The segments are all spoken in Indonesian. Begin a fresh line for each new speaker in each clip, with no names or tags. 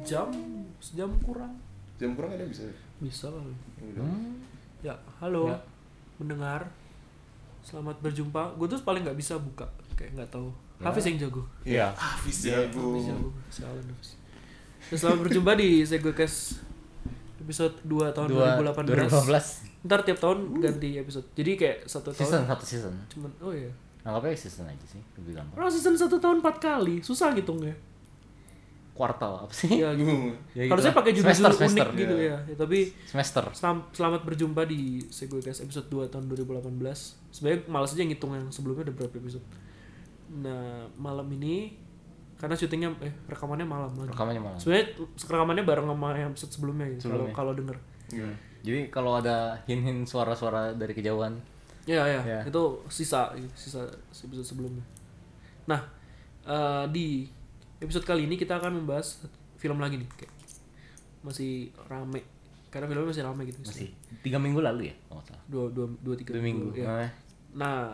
sejam sejam kurang
Jam kurang ada bisa.
bisa lah
Ya udah.
Hmm.
ya halo
Ya.
mendengar selamat berjumpa gue tuh paling nggak bisa buka kayak nggak tahu
Ya.
Hafiz yang jago
Iya.
Hafiz
Hafiz
jago.
jago sialan Hafiz dan selamat berjumpa di Segwaycast episode 2 tahun
Dua-
2018
2018.
ntar tiap tahun ganti episode jadi kayak satu tahun
Season satu season.
cuman oh iya
Anggapnya season aja sih, lebih gampang.
orang season satu tahun empat kali susah ngitungnya
Kuartal apa sih?
ya,
Bingung.
Ya, gitu
harusnya
lah.
pakai judul-judul
Semester, semester.
unik gitu
iya.
ya. ya tapi
Semester.
Selam- selamat berjumpa di Segwaycast episode 2 tahun 2018 Sebenarnya males aja ngitung yang sebelumnya udah berapa episode Nah malam ini Karena syutingnya, eh rekamannya malam lagi
Rekamannya malam.
Sebenarnya rekamannya bareng sama yang episode sebelumnya gitu Kalau
Sebelumnya.
kalau denger
Gimana?
Jadi kalau ada hin-hin suara-suara dari kejauhan,
Iya, iya,
Ya.
itu sisa, sisa episode sebelumnya Nah eh, di episode kali ini kita akan membahas film lagi nih kayak Masih rame Karena filmnya masih rame gitu
masih tiga minggu lalu ya, kalau nggak salah.
Dua, dua, dua, tiga
Dua minggu.
ya.
Nah,
Nah,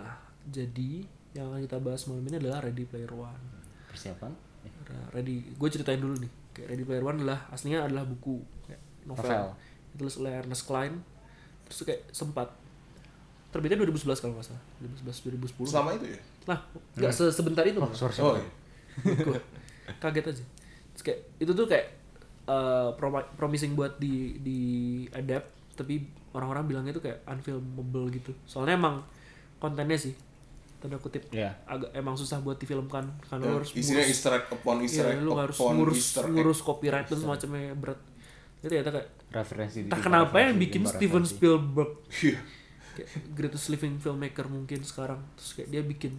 jadi yang akan kita bahas malam ini adalah Ready Player One.
persiapan. Eh,
Nah, Ready, gue ceritain dulu nih. Kayak Ready Player One adalah aslinya adalah buku kayak
Novel.
novel. Ditulis oleh Ernest Cline. Terus tuh kayak sempat terbitnya 2011 kalau nggak salah. 2011 2010.
Sama itu ya?
Nah, nggak se- sebentar itu.
Oh,
Mas.
sorry.
Oh,
sorry.
iya.
Gua kaget aja. Terus kayak itu tuh kayak eh, prom- promising buat di di adapt, tapi orang-orang bilangnya tuh kayak unfilmable gitu. Soalnya emang kontennya sih tanda kutip
Iya.
agak emang susah buat difilmkan karena
Ya,
lu harus
Isinya
ngurus-
easter egg upon easter
iya,
egg
lu harus
upon
ngurus
easter egg. Iya.
ngurus copyright dan semacamnya berat. Jadi ternyata kayak
Referensi di
entah
tiga
kenapa yang
referensi,
bikin
lima
Steven
referensi.
Spielberg
Iya.
kayak greatest living filmmaker mungkin sekarang terus kayak dia bikin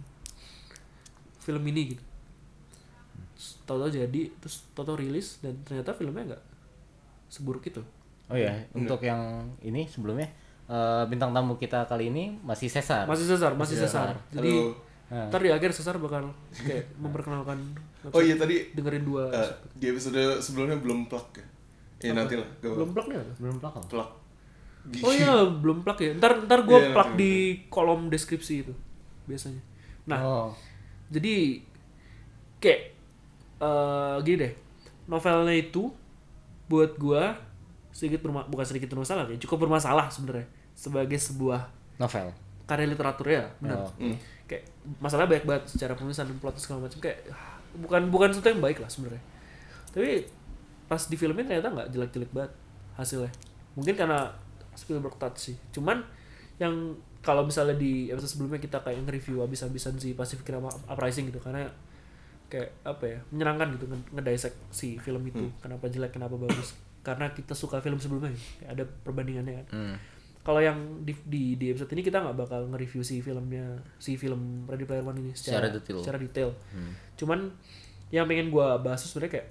film ini gitu. Terus Tahu-tahu jadi terus tahu-tahu rilis dan ternyata filmnya nggak seburuk itu.
Oh ya, untuk yang ini sebelumnya eh, bintang tamu kita kali ini masih Cesar.
Masih sesar, masih sesar. Jadi
Halo.
Nah,
ntar di akhir sesar bakal kayak memperkenalkan
Oh iya tadi
dengerin dua
eh, di episode sebelumnya belum plug ya. Ya nanti lah. gak
belum plug nih.
belum pelakon.
apa-apa. plug. Di-
Oh iya, belum plug ya. Ntar ntar gue
Iya,
plug
nanti,
di kolom deskripsi itu biasanya. Nah,
Oh,
jadi kayak eh gini deh. Novelnya itu buat gue sedikit berma- bukan sedikit bermasalah ya, cukup bermasalah sebenarnya sebagai sebuah
novel.
karya literatur ya, benar.
Oh.
Hmm.
Kayak masalah banyak banget secara penulisan dan plot segala macam kayak ah, bukan bukan sesuatu yang baik lah sebenarnya. Tapi pas di filmin ternyata nggak jelek-jelek banget hasilnya. Mungkin karena Spielberg touch sih. Cuman yang kalau misalnya di episode sebelumnya kita kayak nge-review abis-abisan si Pacific Rim Uprising gitu karena kayak apa ya menyenangkan gitu nge- ngedisek si film itu
Hmm.
kenapa jelek kenapa bagus karena kita suka film sebelumnya ya. Kayak ada perbandingannya kan
Hmm.
kalau yang di, di di episode ini kita nggak bakal nge-review si filmnya si film Ready Player One ini secara,
Secara detail.
secara detail. Cuman yang pengen gua bahas tuh sebenarnya kayak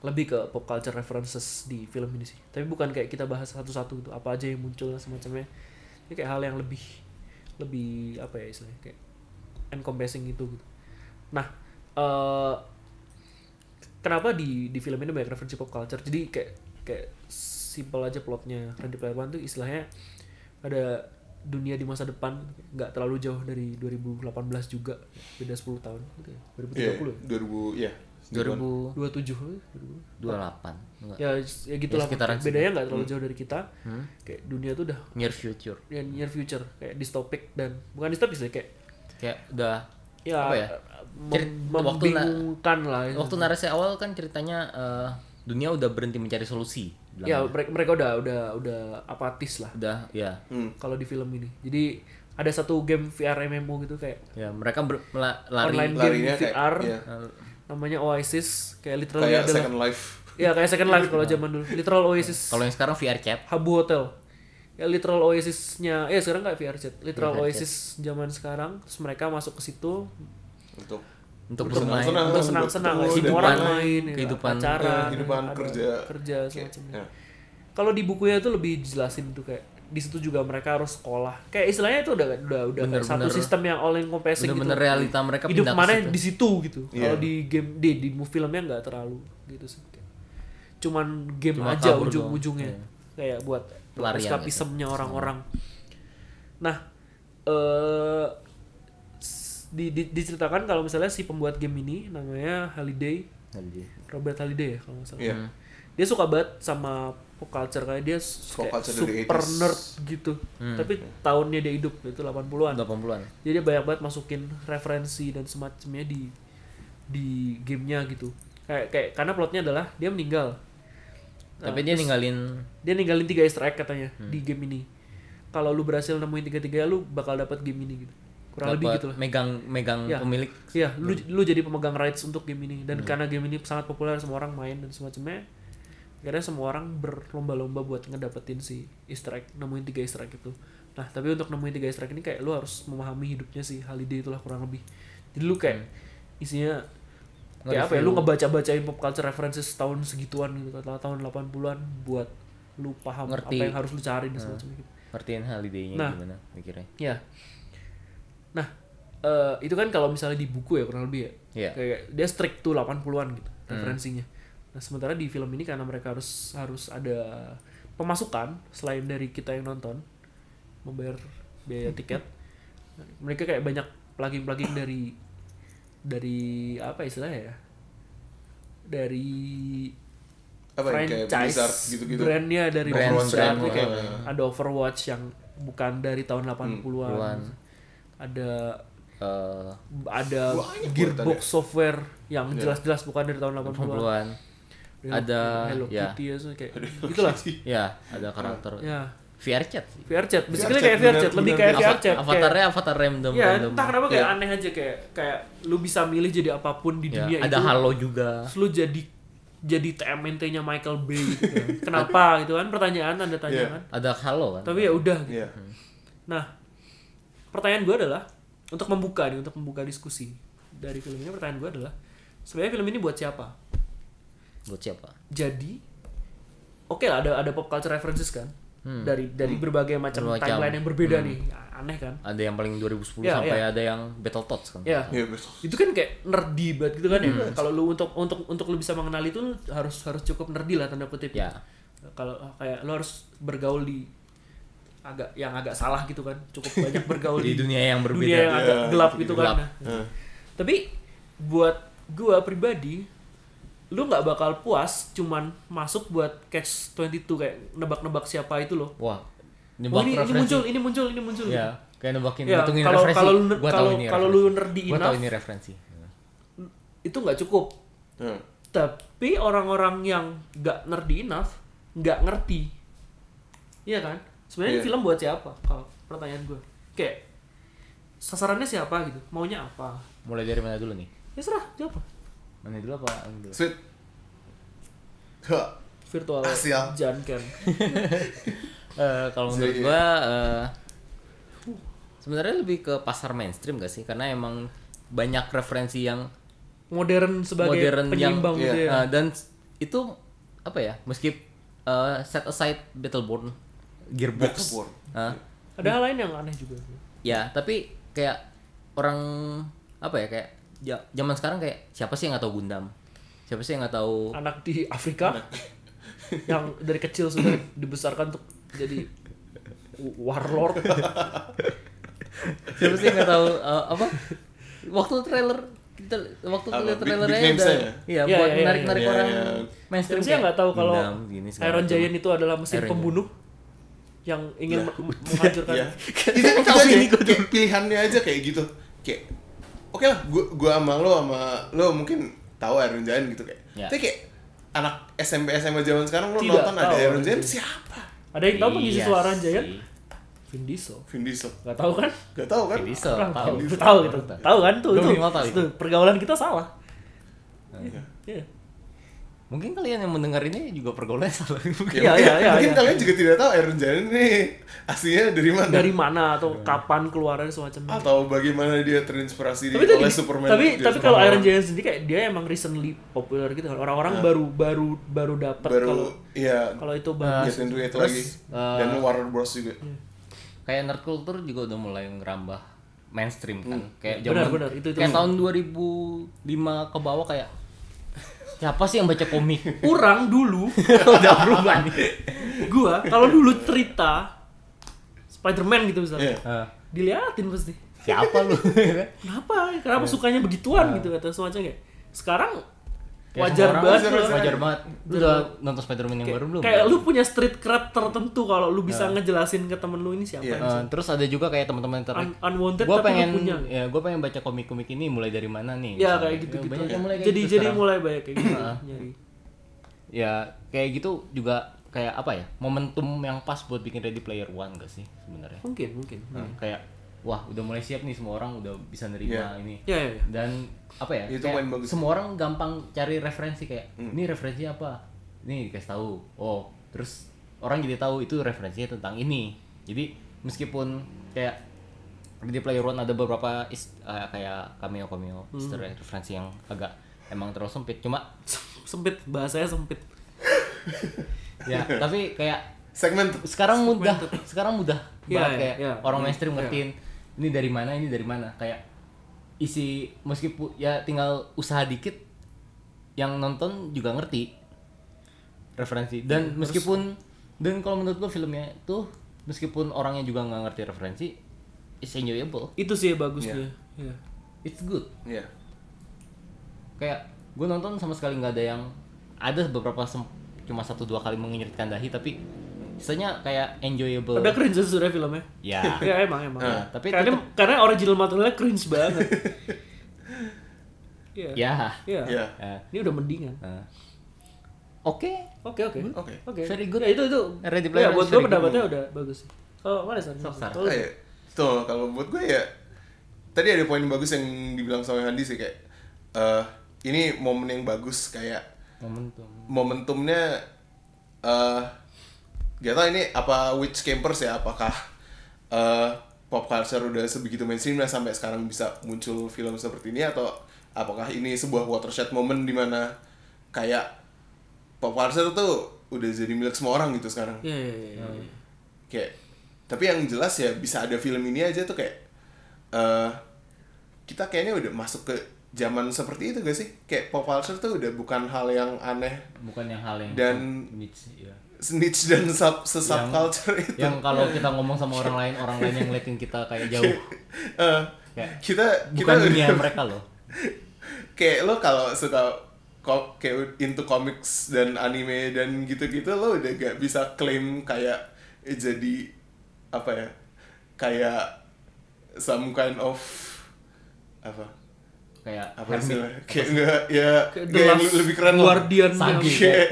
lebih ke pop culture references di film ini sih. Tapi bukan kayak kita bahas satu-satu gitu apa aja yang muncul dan semacamnya. Ini kayak hal yang lebih lebih apa ya istilahnya kayak encompassing itu gitu. Nah, eh kenapa di di film ini banyak referensi pop culture jadi kayak kayak simple aja plotnya Ready Player One tuh istilahnya ada dunia di masa depan nggak terlalu jauh dari 2018 juga beda 10 tahun gitu ya.
Iya,
2030
2000 ya.
27
2028. Enggak.
ya ya gitulah
Ya, sekitaran Hmm.
bedanya nggak terlalu jauh dari kita kayak dunia tuh udah
Near future.
ya, near future kayak distopik dan bukan distopik sih kayak
Kayak udah
ya,
Apa ya?
mem-
Cerit- waktu na-
membingungkan lah ya.
waktu narasi awal kan ceritanya eh, dunia udah berhenti mencari solusi.
ya
bilangnya.
mereka mereka udah udah udah apatis lah
Udah, ya.
Hmm.
kalau di film ini. Jadi ada satu game VR MMO gitu kayak
Ya, mereka ber- mela- lari
online game nah,
Larinya kayak
VR
ya,
namanya Oasis kayak literally
kayak
adalah
Second Life.
ya kayak Second Life kalau zaman dulu. Literal Oasis
Kalau yang sekarang VR chat.
Habu Hotel. Ya literal Oasisnya ya sekarang kayak VR chat. Literal Oasis zaman sekarang terus mereka masuk ke situ
Untuk
Untuk
bersenang-
bermain.
senang.
untuk senang-senang
betul,
semua
dan
orang
lain-lain.
main ya,
Kehidupan-
pacaran,
ya, oh, kehidupan
ada
kerja.
kerja
Kayak,
semacamnya.
ya.
Kalau di bukunya itu lebih jelasin tuh kayak di situ juga mereka harus sekolah. Kayak istilahnya itu udah udah udah kayak satu
Bener-bener-
sistem yang all encompassing gitu.
Bener-bener realita mereka
hidup
pindah ke
mana
situ.
di situ gitu.
Iya.
Kalau di game di di mu- filmnya nggak terlalu gitu sih. Kayak Cuman game
Cuma
aja
kabur
ujung-ujungnya.
doang.
Kayak buat
Iya. Pelarian gitu.
eskapismnya orang-orang. Nah, eh s- di, di- diceritakan kalau misalnya si pembuat game ini namanya Holiday
Holiday.
Robert Halliday ya kalau nggak salah
Iya.
dia suka banget sama pop culture karena dia s-
Pop
kayak
culture dari
super
80s.
nerd gitu
Hmm.
tapi tahunnya dia hidup itu 80-an
80-an.
jadi dia banyak banget masukin referensi dan semacamnya di di gamenya gitu kayak kayak karena plotnya adalah dia meninggal Nah,
Tapi dia ninggalin
dia ninggalin tiga easter egg katanya di game ini kalau lu berhasil nemuin tiga tiga lu bakal dapat game ini gitu kurang lebih
dapat
gitu lah
megang megang
Ya.
pemilik
Iya, lu lu jadi pemegang rights untuk game ini dan karena game ini sangat populer semua orang main dan semacamnya. Akhirnya semua orang berlomba-lomba buat ngedapetin si Easter egg, nemuin tiga Easter egg itu. Nah, tapi untuk nemuin tiga Easter egg ini kayak lu harus memahami hidupnya si Holiday itulah kurang lebih. Jadi lu kayak isinya kayak apa ya lu ngebaca-bacain pop culture references tahun segituan gitu atau tahun 80-an buat lu paham
Ngerti.
apa yang harus lu cari dan semacamnya gitu.
ngertiin holiday-nya
Nah.
gimana mikirnya.
Ya. Nah, eh, itu kan kalau misalnya di buku ya kurang lebih ya.
Iya. Hmm.
Kayak dia strict tuh 80-an gitu referensinya. Nah, sementara di film ini karena mereka harus harus ada pemasukan selain dari kita yang nonton membayar biaya tiket. mereka kayak banyak plugin-plugin dari dari apa istilahnya ya? Dari
Apa yang kayak Blizzard
franchise
gitu-gitu.
brandnya dari
Brand,
Blizzard
brand,
tuh kayak
brand.
ada Overwatch yang bukan dari tahun 80-an.
Hmm, puluhan.
Ada
Eh,
ada Gearbox
Banyak
ya.
buatannya.
software yang jelas-jelas bukan dari tahun 80-an.
80-an. Iya. Ada
Hello
ya.
Kitty ya so kayak gitulah.
Ya, ada karakter
Ya.
VR chat. sih.
VR chat, basically
chat,
kayak VR
benar-
chat, lebih
benar-
kayak
benar.
VR chat. kayak-
Avatarnya avatar random
Ya,
random.
entah kenapa kayak aneh aja kayak kayak lu bisa milih jadi apapun di
Iya. Ya,
dunia
ada
itu.
halo juga.
Terus lu jadi jadi TMNT-nya Michael Bay gitu. kan. Kenapa gitu kan pertanyaan tanda tanya
Iya.
kan.
Ada halo kan.
Tapi ya udah gitu.
Iya.
Nah, pertanyaan gue adalah untuk membuka nih, untuk membuka diskusi dari film ini pertanyaan gue adalah sebenarnya film ini buat siapa?
Buat siapa?
Jadi, oke lah ada ada pop culture references kan
Hmm.
dari dari berbagai macam
Bermacam.
timeline yang berbeda nih, A- aneh kan?
Ada yang paling 2010
Ya,
sampai
ya.
ada yang Battletoads kan.
Ya,
Iya, betul.
itu kan kayak nerdy banget gitu kan
Hmm.
ya. Kalau lu untuk untuk untuk lu bisa mengenali itu lu harus harus cukup nerdy lah tanda kutip.
Ya.
Kalau kayak lu harus bergaul di agak yang agak salah gitu kan, cukup banyak bergaul
Di dunia yang berbeda.
dunia yang agak
Iya,
gelap gitu
gelap.
kan. Nah, Tapi buat gua pribadi, lu nggak bakal puas cuman masuk buat catch 22 kayak nebak-nebak siapa itu loh.
Wah.
Oh,
Nembak
ini, ini
referensi.
muncul, ini muncul, ini muncul.
Ya, kayak nembakin
Ya,
ngitungin
kalau-
referensi.
kalau lu-
Gua tahu
kalau-
ini
kalau
referensi.
lu nerdy
Gua tahu
enough.
ini referensi.
Itu nggak cukup.
Iya.
Tapi orang-orang yang nggak nerdy enough nggak ngerti. Iya kan? Sebenarnya
Iya.
film buat siapa? Kalau pertanyaan gua. Kayak sasarannya siapa gitu? Maunya apa?
Mulai dari mana dulu nih?
Ya serah, jawab. lah.
Mana dulu apa? yang dulu?
Sweet. Ha.
Virtual
Ah, sial.
Janken.
Eh, kalau menurut
Jadi-
gua eh, sebenarnya lebih ke pasar mainstream gak sih? Karena emang banyak referensi yang
modern sebagai
modern yang
penyeimbang gitu
iya.
ya.
eh, dan s- itu apa ya? Meski eh, set aside Battleborn, Gearbox,
Battleborn.
eh,
Ada hal lain yang aneh juga.
ya tapi kayak orang apa ya kayak ja- zaman sekarang kayak siapa sih yang nggak tahu Gundam? Siapa sih yang nggak tahu
Anak di Afrika yang dari kecil sudah dibesarkan untuk jadi warlord.
siapa sih yang nggak tahu eh, apa waktu trailer kita waktu
Apa,
trailer
big-
trailernya
big names
udah
aja?
iya
Iya,
buat
iya, iya,
menarik narik
iya.
orang
Iya, iya.
mainstream
Siapa sih yang nggak tahu kalau
Gundam, gini, segala
Iron
macam.
Giant itu adalah mesin
Iron Giant.
pembunuh yang ingin me- me- menghancurkan.
Iya. Itu kan
Tahu
kayak-
ini gua
kayak pilihannya aja kayak gitu. Kayak oke lah, gua gua sama lo sama lo mungkin tahu Iron Giant gitu kayak.
Ya.
Tapi kayak anak SMP SMA zaman sekarang lo
Tidak
nonton ada
tahu
Iron
Iron
Giant
Giant.
siapa?
Ada yang tahu mengisi
Iya
suara Iron Giant?
sih.
Vin Diesel.
Vin Diesel.
Gak tahu kan?
Gak tahu kan?
Vin Diesel
Orang
tahu
tahu, tahu gitu. Tahu kan tuh
Gua
itu.
minimal tahu itu.
Itu, Pergaulan kita salah.
Iya.
Iya.
mungkin kalian yang mendengar ini juga pergaulannya salah mungkin
Iya,
Ya, mungkin-
iya, iya,
Mungkin
iya.
kalian juga tidak tahu Iron Giant ini aslinya dari mana?
Dari mana atau
Iya.
kapan keluarnya semacamnya?
atau bagaimana dia terinspirasi
tapi
oleh
tadi-
Superman
tapi
dia
tapi kalau
Superman.
Iron Giant sendiri kayak dia emang recently populer gitu kan orang-orang baru baru baru dapat
Nah. baru
kalau
ya
kalau itu
Get
Nah.
bagus
into it
terus,
lagi
eh,
dan Warner Bros juga
kayak nerd culture juga udah mulai ngerambah mainstream kan kayak
Hmm. Benar, benar, itu- itu.
kayak tahun 2005 ke bawah kayak siapa sih yang baca komik
orang dulu
udah berubah nih
gua kalau dulu cerita Spider-Man gitu misalnya
Iya.
Eh,
diliatin pasti
siapa lu Iya.
kenapa kenapa sukanya begituan gitu atau semacam kayak sekarang
Nah. Kayak
Wajar
semua orang,
banget
wajar,
loh.
wajar banget. Lu
Udah.
udah nonton Spider-Man yang baru belum? Nah.
kayak lu punya street cred tertentu kalau lu bisa ngejelasin ke temen lu ini siapa
Iya.
anjing.
Eh, terus ada juga kayak teman-teman yang tertarik.
Un- unwanted tapi
Gua
lu
pengen
punya.
ya gue pengen baca komik-komik ini mulai dari mana
ya
nih? misalnya.
kayak gitu gitu
banyak yang mulai kayak
jadi
gitu
jadi
sekarang. Nah.
mulai banyak kayak gitu nyari
ya kayak gitu juga kayak apa ya? Momentum yang pas buat bikin Ready Player One gak sih sebenarnya?
mungkin mungkin
Hmm, Kayak wah udah mulai siap nih semua orang udah bisa nerima ini.
ya ya, ya.
dan apa ya
Iya. Itu
kayak
poin bagus. Hmm.
semua orang gampang cari referensi kayak ini referensi apa ini dikasih tahu oh terus orang jadi tahu itu referensinya tentang ini jadi meskipun kayak di player one ada beberapa is- eh, kayak cameo cameo
Hmm.
Easter egg, referensi yang agak emang terlalu sempit cuma
sempit bahasanya sempit
ya tapi kayak
segmen
sekarang mudah sekarang mudah
Iya,
banget
iya,
kayak
iya.
orang
Hmm,
mainstream
iya.
ngertiin ini dari mana ini dari mana kayak isi meskipun ya tinggal usaha dikit yang nonton juga ngerti
Iya,
referensi dan meskipun dan kalau menurut gue filmnya tuh meskipun orangnya juga nggak ngerti referensi it's enjoyable
itu sih bagusnya ya.
it's good
Iya.
kayak gue nonton sama sekali nggak ada yang ada beberapa sem- cuma satu dua kali mengiritkan dahi tapi sisanya kayak enjoyable
Udah cringe sesudah filmnya
ya
ya emang emang
Ah.
Nah, tapi
karena
tetep-
karena original materialnya cringe banget Iya.
ya
Iya.
Iya.
Eh,
Ini udah mendingan.
eh. Oke.
Oke oke.
Oke.
Oke.
Very good.
Ya, itu itu.
Ready Player
ya, buat
is
gue
very
pendapatnya
good.
udah bagus. sih. Kalau mana Oh. San?
Sok, San.
Kalau
Ah, ya. Tuh, kalau buat gue ya tadi ada poin bagus yang dibilang sama Handi sih kayak eh ini momen yang bagus kayak
Momentum.
momentumnya eh gak tau ini apa which campers ya apakah eh pop culture udah sebegitu mainstream lah sampai sekarang bisa muncul film seperti ini atau apakah ini sebuah watershed moment dimana kayak pop culture tuh udah jadi milik semua orang gitu sekarang
Iya iya iya. iya.
kayak tapi yang jelas ya bisa ada film ini aja tuh kayak eh kita kayaknya udah masuk ke zaman seperti itu gak sih kayak pop culture tuh udah bukan hal yang aneh
Bukan yang hal yang
Dan-
niche, ya.
niche dan sub subculture itu
Yang kalau kita ngomong sama orang lain, orang lain yang ngeliatin kita kayak jauh.
Eh,
Kayak
kita kita
bukan dunia
udah-
mereka loh.
kayak lo kalau suka ko- kayak into comics dan anime dan gitu-gitu lo udah gak bisa klaim kayak eh, jadi apa ya kayak some kind of apa
Kayak
apa
hermit.
istilah kayak enggak ya
Kayak The
kayak yang
Last
lebih keren lah
Guardian
Sagi.
yang-
kayak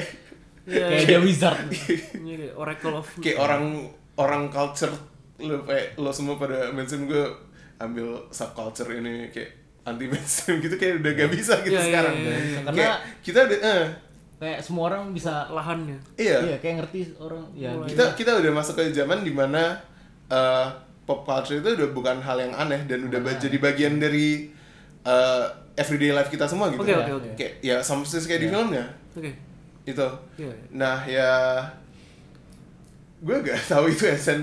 Iya,
Kayak
iya.
dia wizard.
Ini kayak Oracle of
kayak orang orang culture lo kayak lo semua pada mainstream gue ambil subculture ini kayak anti mainstream gitu kayak udah gak bisa gitu
Iya, iya,
sekarang
iya,
iya.
Kayak
Karena-
kita udah eh,
Kayak semua orang bisa
lahannya.
iya
Iya, kayak ngerti orang ya.
Mulai.
kita kita udah masuk ke zaman dimana eh, pop culture itu udah bukan hal yang aneh dan udah ba- jadi bagian dari eh, everyday life kita semua gitu
Oke
ya
oke oke. Iya.
kayak ya sama persis kayak di filmnya
Oke.
itu
Iya. iya.
nah ya gue gak tahu itu essen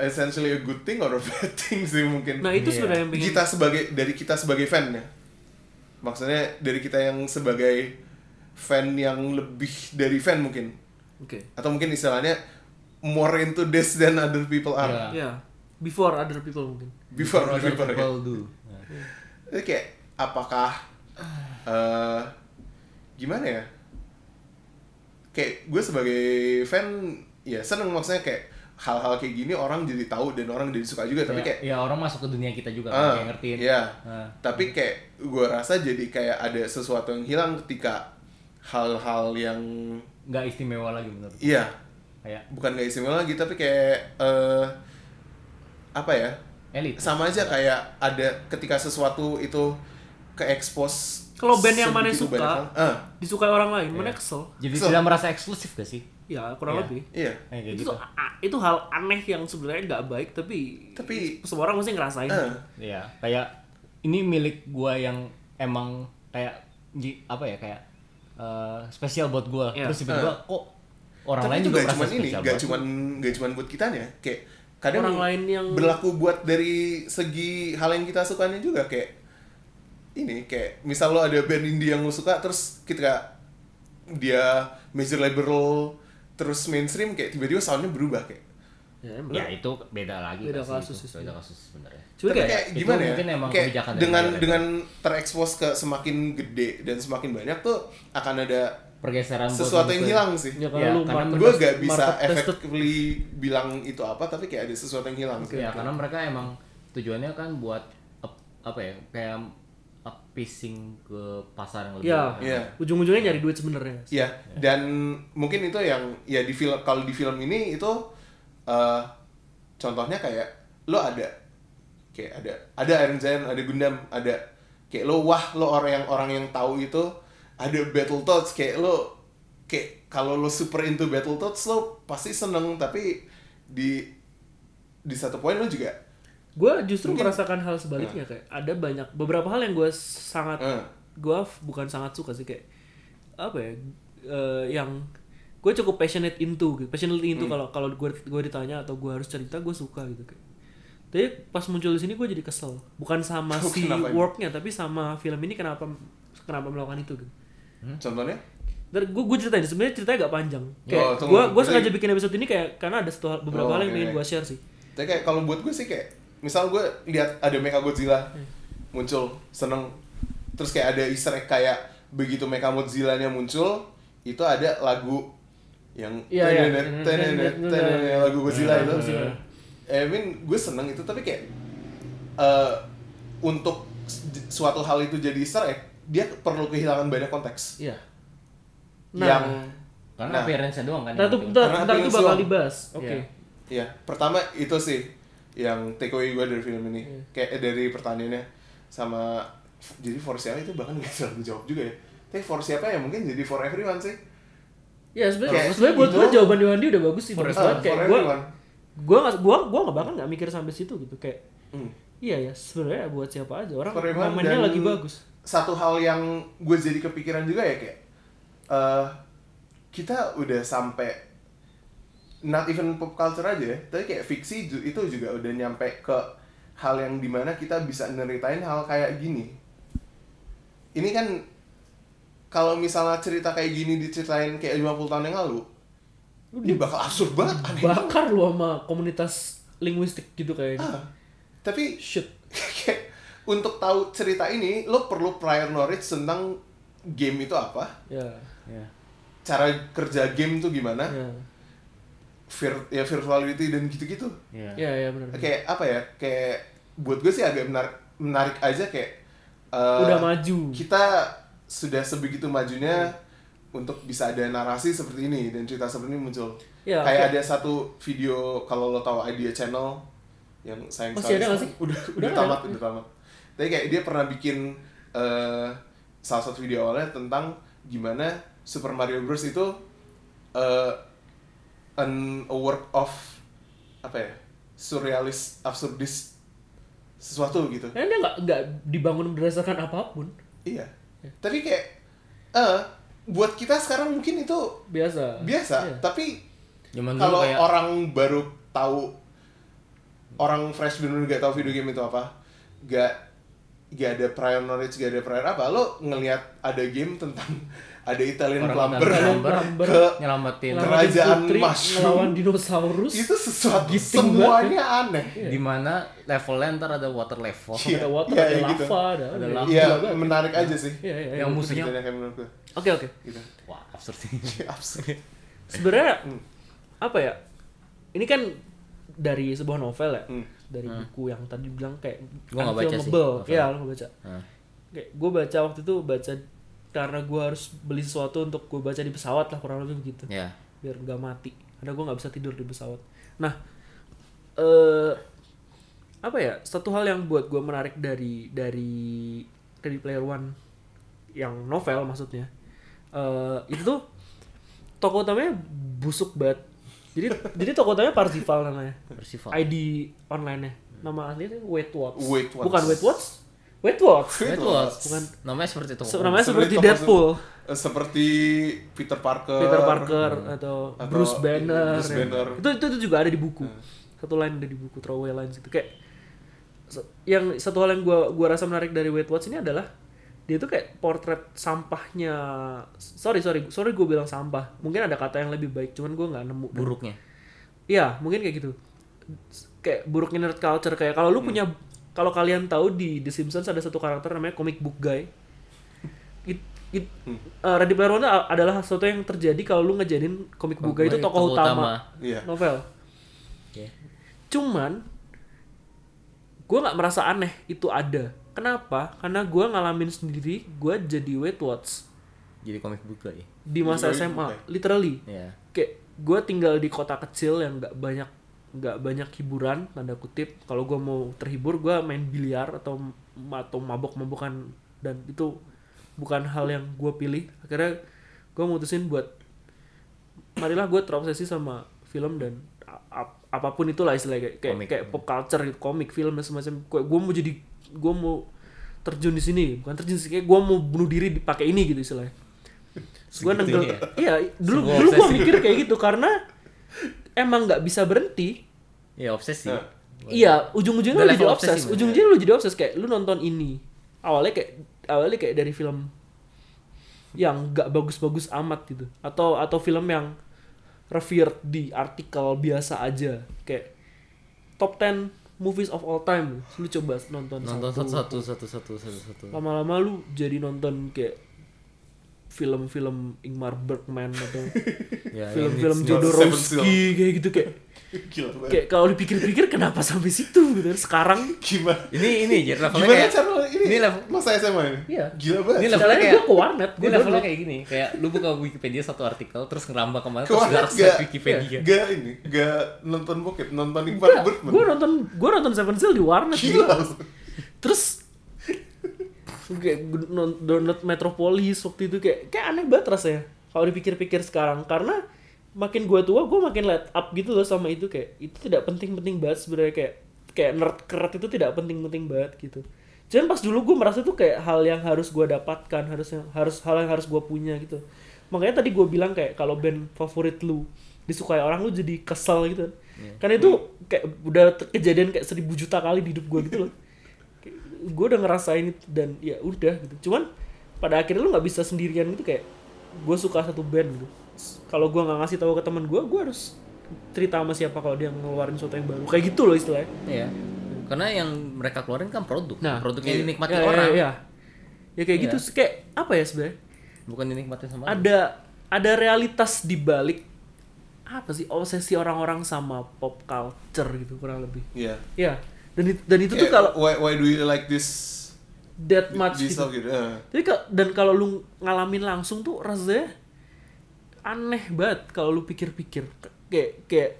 essentially a good thing or a bad thing sih mungkin
Nah, itu
Iya.
sebenarnya yang pengen
kita sebagai dari kita sebagai fan ya maksudnya dari kita yang sebagai fan yang lebih dari fan mungkin
Oke.
atau mungkin istilahnya more into this than other people are
Iya.
Ya. Before other people mungkin.
before other people, ya.
people do. Nah.
Jadi kayak apakah eh gimana ya kayak gue sebagai fan ya seneng maksudnya kayak hal-hal kayak gini orang jadi tahu dan orang jadi suka juga tapi
Ya,
kayak
ya, orang masuk ke dunia kita juga kan,
ah,
kayak ngertiin.
iya.
Nah.
tapi kayak gue rasa jadi kayak ada sesuatu yang hilang ketika hal-hal yang
nggak istimewa lagi menurut. gue.
iya
Kayak
bukan gak istimewa lagi tapi kayak eh apa ya
elit.
sama aja kayak ada ketika sesuatu itu ke expose
Kalau band yang mana
sebegitu
suka.
banyak hal- ah,
Disukai orang lain, mana kesel.
Jadi
So-
tidak merasa eksklusif gak sih?
Ya, kurang
Iya.
lebih.
iya
Kayak
Itu
gitu.
tuh a- itu hal aneh yang sebenarnya nggak baik tapi
Tapi-
semua orang mesti ngerasain.
ah,
Iya, kayak ini milik gua yang emang kayak ji- apa ya kayak eh, spesial buat gua.
Iya.
Terus tiba-tiba kok orang
Eh, tapi
lain
itu
juga
gak
merasa
cuman ini
spesial
gak
buat
cuman gak cuman buat kita ya kayak kadang
Orang lain yang-
berlaku buat dari segi hal yang kita sukanya juga kayak ini kayak misal lo ada band indie yang lo suka terus ketika dia major label terus mainstream kayak tiba-tiba soundnya berubah kayak
Ya, emang.
ya itu beda lagi
Beda
pasti
kasus sih
itu. beda kasus sebenarnya
Cuma
Tapi
kayak,
kayak
itu
gimana ya?
mungkin emang
kayak
kebijakan dari
dengan
mereka.
dengan terekspos ke semakin gede dan semakin banyak tuh akan ada
pergeseran buat
sesuatu yang
mengikuti-
hilang sih.
ya, kalau
ya,
lu
karena
market-
Gue gak bisa
market tested,
effectively bilang itu apa, tapi kayak ada sesuatu yang hilang.
gitu.
sih.
ya karena mereka emang tujuannya kan buat ap- apa ya kayak appeasing ke pasar yang lebih
ya
Iya.
ujung-ujungnya nyari duit sebenarnya
Iya, dan mungkin itu yang ya di film kalau di film ini itu eh contohnya kayak lo ada kayak ada ada Iron Giant, ada Gundam, ada kayak lo wah lo orang yang orang yang tahu itu ada Battletoads kayak lo kayak kalau lo super into Battletoads lo pasti seneng tapi di di satu poin lo juga
gue justru
Mungkin- Ah.
merasakan hal sebaliknya kayak ada banyak beberapa hal yang gue sangat
eh,
gue bukan sangat suka sih kayak apa ya eh, yang gue cukup passionate into gitu passionate into
Hmm.
kalau kalau gue gue ditanya atau gue harus cerita gue suka gitu kayak tapi pas muncul di sini gue jadi kesel bukan sama si
Oh, Kenapa ini?
worknya tapi sama film ini kenapa kenapa melakukan itu gitu
contohnya
Ntar gue gue ceritain sebenarnya ceritanya gak panjang.
Oh,
Kayak gue
tunggu.
gue
Berarti-
sengaja bikin episode ini kayak karena ada satu hal- beberapa
Oh,
hal yang
oke.
pengen gue share sih.
Tapi kayak kalau buat gue sih kayak misal gue lihat ada Mecha Godzilla
Hmm.
muncul seneng terus kayak ada Easter egg kayak begitu Mecha Godzilla-nya muncul itu ada lagu yang
Iya, iya.
tenenet, tenenet, tenenet, lagu Godzilla itu. Eh, I mean gue seneng itu tapi kayak eh, untuk s- suatu hal itu jadi Easter egg dia perlu kehilangan banyak konteks
iya
Nah.
yang
karena
Nah.
appearance-nya doang kan
Ntar
yang
tuh
penting.
ntar,
Karena
ntar
aku
tuh
yang
bakal
slow.
dibahas. Oke.
Iya.
Ya, pertama itu sih yang take away gue dari film ini. Kayak eh, dari pertaniannya sama jadi for siapa itu bahkan gak selalu jawab juga ya. Tapi for siapa ya mungkin jadi for everyone sih.
Ya sebenarnya
Kayak
sebenarnya buat
itu-
gue jawaban Wandi udah bagus sih. Bagus
Ah,
banget kayak
for
gue
everyone.
gue nggak gue gue nggak bahkan nggak mikir sampai situ gitu kayak
Hmm.
iya ya sebenarnya buat siapa aja orang
For everyone
momennya
dan
lagi bagus.
Satu hal yang gue jadi kepikiran juga ya kayak eh kita udah sampai not even pop culture aja ya, tapi kayak fiksi ju- itu juga udah nyampe ke hal yang dimana kita bisa neritain hal kayak gini. Ini kan kalau misalnya cerita kayak gini diceritain kayak 50 tahun yang lalu, ini bakal absurd banget aneh.
Bakar lu sama komunitas linguistik gitu kayaknya.
Ah, tapi
Shit.
kayak untuk tahu cerita ini, lo perlu prior knowledge tentang game itu apa,
Ya.
Iya.
cara kerja game tuh gimana,
Ya.
vir ya virtuality dan gitu-gitu.
Iya.
Ya ya benar.
kayak apa ya kayak buat gue sih agak menarik menarik aja kayak eh,
Udah maju.
kita sudah sebegitu majunya untuk bisa ada narasi seperti ini dan cerita seperti ini muncul
Ya, oke.
kayak ada satu video kalau lo tahu idea channel yang sayang
Masih
sekali
ada nggak sih?
udah
Udah
udah
nggak
tamat
ada?
udah tamat tapi kayak dia pernah bikin eh, salah satu video awalnya tentang gimana Super Mario Bros itu eh, an a work of apa ya surrealis absurdis sesuatu gitu
Karena dia nggak nggak dibangun berdasarkan apapun
iya
Ya.
tapi kayak eh buat kita sekarang mungkin itu
biasa. Iya.
biasa tapi
Zaman dulu
kalau
kayak
orang baru tahu orang fresh bener gak tahu video game itu apa gak gak ada prior knowledge gak ada prior apa lo ngelihat ada game tentang ada Italian
orang
plumber
Italian plumber.
ke
nyelamatin
Iya. Ngelawan
Kerajaan
putri,
mushroom. Iya.
ngelawan dinosaurus
itu sesuatu
Giting
semuanya
ya.
aneh
di mana levelnya ntar ada water level
Iya.
ada water
Iya,
ada
iya,
lava gitu.
gitu.
ada
Ada
ada-
lava.
gila
Iya,
banget.
menarik aja sih
Iya, iya, iya.
yang musuhnya
Ceritanya kayak menurut gue
oke oke
gitu Iya,
wah absurd sih
absurd
sebenarnya apa ya ini kan dari sebuah novel ya
Hmm.
dari buku yang tadi bilang kayak
Gua nggak baca sih,
unfilmable.
novel. Hmm.
iya lo nggak baca
Hah.
kayak gue baca waktu itu baca karena gue harus beli sesuatu untuk gue baca di pesawat lah kurang lebih begitu
ya
biar nggak mati karena gue nggak bisa tidur di pesawat nah eh apa ya satu hal yang buat gue menarik dari dari Ready Player One yang novel maksudnya eh itu tuh tokoh utamanya busuk banget jadi jadi tokoh utamanya Parzival namanya
bersifat
ID online nya nama aslinya tuh Weight Watch
Weight Watch.
bukan Weight Watch Weight Watch
itu loh
Bukan.
namanya seperti itu
Se- namanya
Sebenarnya
seperti
tokoh
Deadpool
se- Eh, seperti Peter Parker
Peter Parker atau,
Atau
Bruce Banner,
Bruce
ya.
Banner. Hmm.
Itu, itu itu juga ada di buku satu line ada di buku throwaway lines itu kayak se- yang satu hal yang gua gua rasa menarik dari Weight Watch ini adalah dia tuh kayak portret sampahnya sorry sorry sorry gue bilang sampah mungkin ada kata yang lebih baik cuman gua nggak nemu
buruknya
Iya, mungkin kayak gitu. kayak buruknya nerd culture kayak kalau
Hmm.
lu punya kalau kalian tahu di The Simpsons ada satu karakter namanya comic book guy. It, it,
Hmm.
eh, Ready Player One adalah sesuatu yang terjadi kalau lu ngejadiin comic book guy itu tokoh
Tokoh utama.
utama
Iya.
novel.
Oke.
Cuman gue nggak merasa aneh itu ada. Kenapa? Karena gue ngalamin sendiri, gue jadi Weight Watch
Jadi comic book lah ya.
di masa
Literally,
SMA,
oke.
literally.
Iya.
Kayak gue tinggal di kota kecil yang nggak banyak nggak banyak hiburan tanda kutip. Kalau gue mau terhibur, gue main biliar atau atau mabok-mabokan dan itu bukan hal yang gue pilih. Akhirnya gue mutusin buat marilah gue terobsesi sama film dan a- ap- apapun itulah istilahnya kayak kayak,
Komik.
kayak pop culture gitu, komik film dan semacam kayak gue mau jadi gue mau terjun di sini bukan terjun sih kayak gue mau bunuh diri dipakai ini gitu istilahnya gue nenggel iya dulu
Sebuah
dulu gue
obsesi.
mikir kayak gitu karena emang nggak bisa berhenti
Iya obsesi.
Nah.
Iya, ujung-ujungnya
Udah
lu jadi
level
obses.
obsesi banget.
Ujung-ujungnya lu jadi obses kayak lu nonton ini. Awalnya kayak awalnya kayak dari film yang gak bagus-bagus amat gitu atau atau film yang reviewed di artikel biasa aja kayak top 10 movies of all time lu coba nonton,
Nonton
satu.
satu satu satu satu satu.
lama-lama lu jadi nonton kayak film-film Ingmar Bergman atau
Ya,
film-film
Seven
yang
Jodorowsky
Seal.
kayak gitu kayak
Gila banget.
kayak kalau dipikir-pikir kenapa sampai situ gitu sekarang
Gimana?
Ini ini jadi levelnya
Gimana
kayak
cara ini?
ini level-
masa SMA ini?
Iya.
Gila banget.
Ini level-
Soalnya
kayak-
gue ke warnet,
Gue
gue
levelnya
download.
kayak gini, kayak lu buka Wikipedia satu artikel terus ngerambah kemana
Ke
terus
warnet
harus lihat
nggak?
Wikipedia.
Gak ini, gak nonton bokep, nonton Ingmar
Enggak,
Bergman.
gue nonton gue nonton Seven Seal di warnet
Gila.
gila. Terus kayak gue non- download Metropolis waktu itu kayak kayak aneh banget rasanya kalau dipikir-pikir sekarang karena makin gue tua gue makin let up gitu loh sama itu kayak itu tidak penting-penting banget sebenarnya kayak kayak nerd keret itu tidak penting-penting banget gitu cuman pas dulu gue merasa itu kayak hal yang harus gue dapatkan harus yang harus hal yang harus gue punya gitu makanya tadi gue bilang kayak kalau band favorit lu disukai orang lu jadi kesel gitu kan karena itu kayak udah ter- kejadian kayak seribu juta kali di hidup gue gitu loh gue udah ngerasain itu dan ya udah gitu cuman pada akhirnya lu nggak bisa sendirian gitu kayak gue suka satu band gitu kalau gue nggak ngasih tahu ke teman gue gue harus cerita sama siapa kalau dia ngeluarin sesuatu yang baru kayak gitu loh istilahnya
Iya. Karena yang mereka keluarin kan produk.
Nah.
Produknya
Iya.
ya,
dinikmati
ya,
orang,
ya, ya. Ya kayak
Iya.
gitu kayak apa ya sebenarnya
bukan dinikmati sama lu.
ada ada realitas di balik apa sih obsesi orang-orang sama pop culture gitu kurang lebih
Iya.
ya dan it- dan itu tuh
Kayak,
kalau
why, why do you like this
that much
this
gitu.
stuff gitu. Eh.
Jadi ka- dan kalau lu ngalamin langsung tuh rasanya aneh banget kalau lu pikir-pikir K- kayak kayak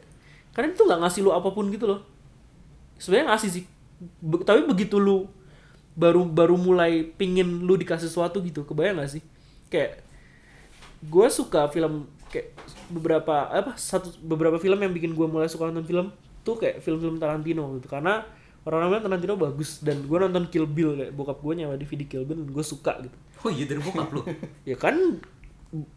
karena itu nggak ngasih lu apapun gitu loh. Sebenarnya ngasih sih, Be- tapi begitu lu baru baru mulai pingin lu dikasih sesuatu gitu, kebayang gak sih? Kayak gue suka film kayak beberapa apa satu beberapa film yang bikin gue mulai suka nonton film tuh kayak film-film Tarantino gitu karena orang-orang bilang Tarantino bagus dan gue nonton Kill Bill kayak bokap gue nyawa DVD Kill Bill dan gue suka gitu
Oh iya dari bokap lu.
ya kan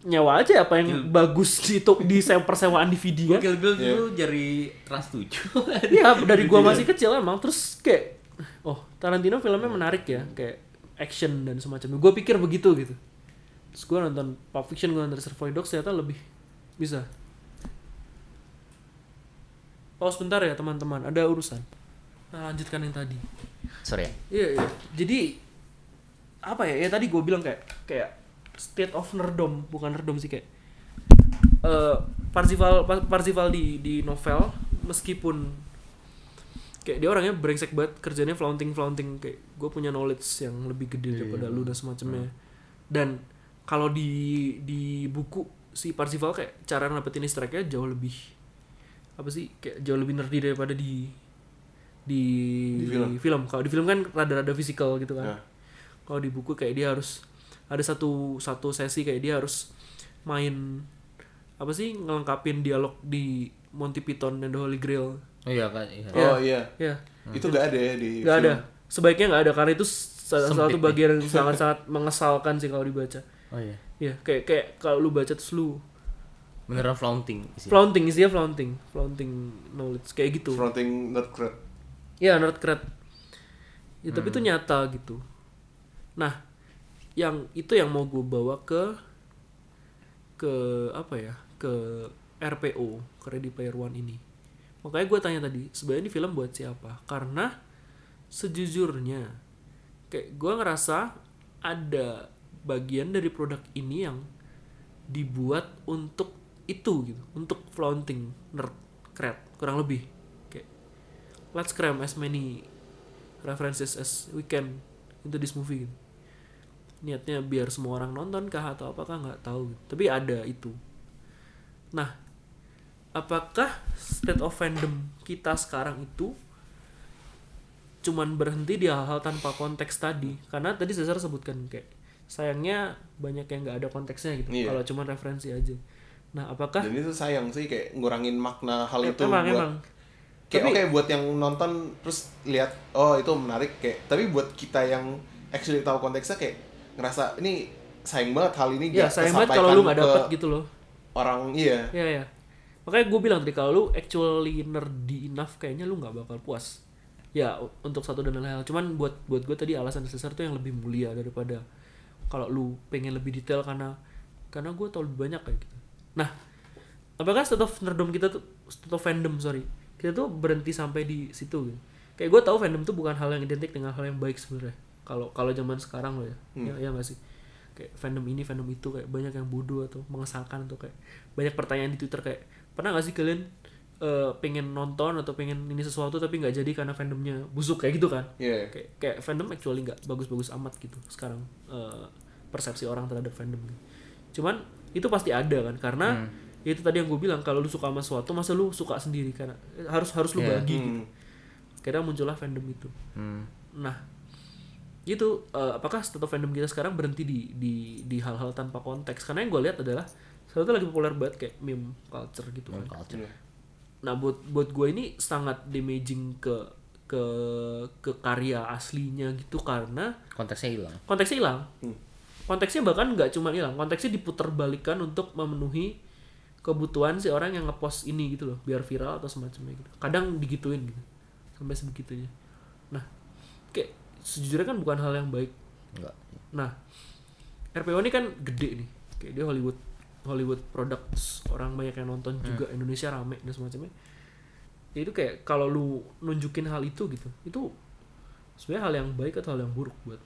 nyawa aja apa yang bagus di itu di se- persewaan DVD kan
Kill Bill dulu dari Trans 7.
Iya dari gua masih kecil emang terus kayak oh Tarantino filmnya menarik ya kayak action dan semacamnya. Gua pikir begitu gitu. Terus gua nonton Pulp Fiction, gua nonton Reservoir Dogs ternyata lebih bisa. Pause bentar ya teman-teman, ada urusan. Nah, lanjutkan yang tadi.
Sorry ya.
Iya, iya. Jadi apa ya? Ya tadi gue bilang kayak kayak state of nerdom, bukan nerdom sih kayak eh Parzival Pa- Parzival di di novel meskipun kayak dia orangnya brengsek banget kerjanya flaunting flaunting kayak gue punya knowledge yang lebih
Iya,
gede daripada lu dan semacamnya
Nah.
dan kalau di di buku si Parzival kayak cara dapetin easter egg-nya jauh lebih apa sih kayak jauh lebih nerdy daripada di di,
Di film.
kalau di film kan rada-rada fisikal gitu kan
Nah.
kalau di buku kayak dia harus ada satu satu sesi kayak dia harus main apa sih ngelengkapin dialog di Monty Python dan The Holy Grail
Oh iya kan. Iya.
Oh iya.
ya
Hmm.
Itu gak ada ya di
nggak
film.
ada sebaiknya nggak ada karena itu salah
Sempit
satu
nih.
bagian yang sangat sangat mengesalkan sih kalau dibaca
Oh iya.
ya kayak kayak kalau lu baca terus lu
Beneran flaunting sih.
flaunting isinya flaunting flaunting knowledge kayak gitu
Fronting nerd cred.
Ya nerd cred. Ya, tapi itu nyata gitu. Nah, yang itu yang mau gue bawa ke ke apa ya? Ke RPO, ke Ready Player One ini. Makanya gue tanya tadi, sebenarnya ini film buat siapa? Karena sejujurnya, kayak gue ngerasa ada bagian dari produk ini yang dibuat untuk itu gitu, untuk flaunting nerd cred kurang lebih. Kayak let's cram as many references as we can into this movie gitu. Niatnya biar semua orang nonton kah atau apakah nggak tahu gitu. Tapi ada itu. Nah, apakah state of fandom kita sekarang itu cuman berhenti di hal-hal tanpa konteks tadi? Karena tadi Cesar sebutkan kayak sayangnya banyak yang nggak ada konteksnya gitu.
Iya.
Kalau cuman referensi aja. Nah, apakah
Dan itu sayang sih kayak ngurangin makna hal
Ya,
itu
emang,
buat
emang.
kayak oke
Tapi-
buat yang nonton terus lihat oh itu menarik kayak tapi buat kita yang actually tahu konteksnya kayak ngerasa ini sayang banget hal ini
ya
nggak
sayang banget kalau
tersampaikan
lu nggak
ke
dapet gitu loh.
orang iya
Ya ya. Makanya gue bilang tadi kalau lu actually nerdy enough kayaknya lu nggak bakal puas. Ya u- untuk satu dan lain hal. Cuman buat buat gue tadi alasan Cesar tuh yang lebih mulia daripada kalau lu pengen lebih detail karena karena gue tau lebih banyak kayak gitu. Nah, apakah state of nerdom kita tuh state of fandom sorry kita tuh berhenti sampai di situ gitu. Kayak gue tau fandom tuh bukan hal yang identik dengan hal yang baik sebenarnya. Kalau kalau zaman sekarang loh ya,
Hmm.
ya, ya nggak sih. Kayak fandom ini, fandom itu kayak banyak yang bodoh atau mengesalkan atau kayak banyak pertanyaan di Twitter kayak pernah nggak sih kalian eh, pengen nonton atau pengen ini sesuatu tapi nggak jadi karena fandomnya busuk kayak gitu kan?
iya
kayak kayak fandom actually nggak bagus-bagus amat gitu sekarang eh, persepsi orang terhadap fandom gitu. cuman itu pasti ada kan karena itu tadi yang gue bilang kalau lu suka sama sesuatu masa lu suka sendiri karena eh, harus harus lu
Iya.
bagi gitu
Hmm.
kira muncullah fandom itu
Hmm.
nah itu eh, apakah state of fandom kita sekarang berhenti di di di hal-hal tanpa konteks karena yang gue lihat adalah satu lagi populer banget kayak meme culture gitu kan
Culture.
Nah buat buat gue ini sangat damaging ke ke ke karya aslinya gitu karena
Konteksnya hilang.
konteksnya hilang. Konteksnya bahkan nggak cuma hilang, konteksnya diputerbalikkan untuk memenuhi kebutuhan si orang yang ngepost ini gitu loh, biar viral atau semacamnya gitu. Kadang digituin gitu. Sampai sebegitunya. Nah, kayak sejujurnya kan bukan hal yang baik.
Enggak.
Nah, RPO ini kan gede nih. Kayak dia Hollywood Hollywood products orang banyak yang nonton juga Indonesia rame dan semacamnya. Ya itu kayak kalau lu nunjukin hal itu gitu, itu sebenarnya hal yang baik atau hal yang buruk buat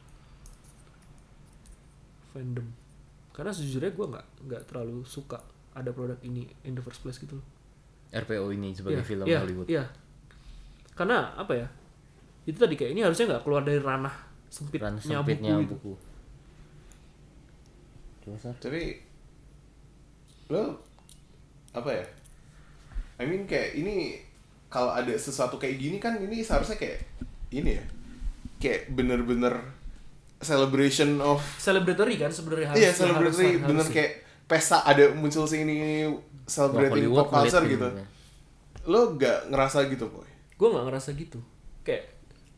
fandom. Karena sejujurnya gue nggak nggak terlalu suka ada produk ini in the first place gitu loh.
RPO ini sebagai
Iya,
film
iya,
Hollywood.
Iya. Karena apa ya? Itu tadi kayak ini harusnya nggak keluar dari ranah gitu. sempitnya,
Karena sempitnya
buku
buku.
itu.
Coba, Sar.
tapi lo apa ya I mean kayak ini kalau ada sesuatu kayak gini kan ini seharusnya kayak ini ya kayak bener-bener celebration of
celebratory kan sebenarnya harus
iya celebratory bener kayak pesta ada muncul sini ini celebrating
Hollywood
pop culture
ngeliat
gitu
filmnya.
lo gak ngerasa gitu boy
gue nggak ngerasa gitu kayak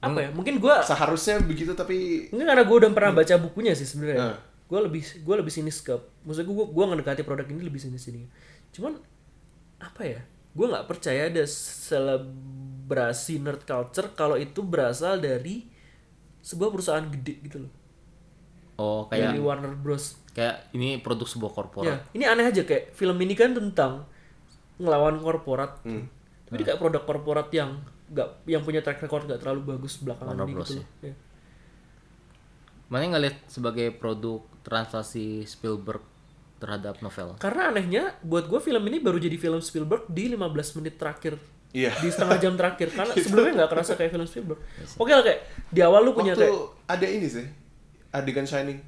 apa ya mungkin gue
seharusnya begitu tapi
mungkin karena gue udah pernah
Hmm.
baca bukunya sih sebenarnya
Nah.
gue lebih gue lebih sinis ke maksudnya gue gue ngedekati produk ini lebih sinis ini cuman apa ya gue nggak percaya ada selebrasi nerd culture kalau itu berasal dari sebuah perusahaan gede gitu loh
Oh, kayak
dari Warner Bros
kayak ini produk sebuah
Ya,
korporat.
ini aneh aja kayak film ini kan tentang ngelawan korporat.
Hmm.
Tapi dia kayak produk korporat yang nggak yang punya track record nggak terlalu bagus belakangan
Warner
ini
Bros,
gitu loh. Ya.
Mana nggak lihat sebagai produk translasi Spielberg terhadap novel?
Karena anehnya buat gue film ini baru jadi film Spielberg di 15 menit terakhir.
Iya.
Di setengah jam terakhir karena Gitu. sebelumnya nggak kerasa kayak film Spielberg.
Iya
Oke lah kayak di awal lu punya
waktu
kayak
ada ini sih adegan shining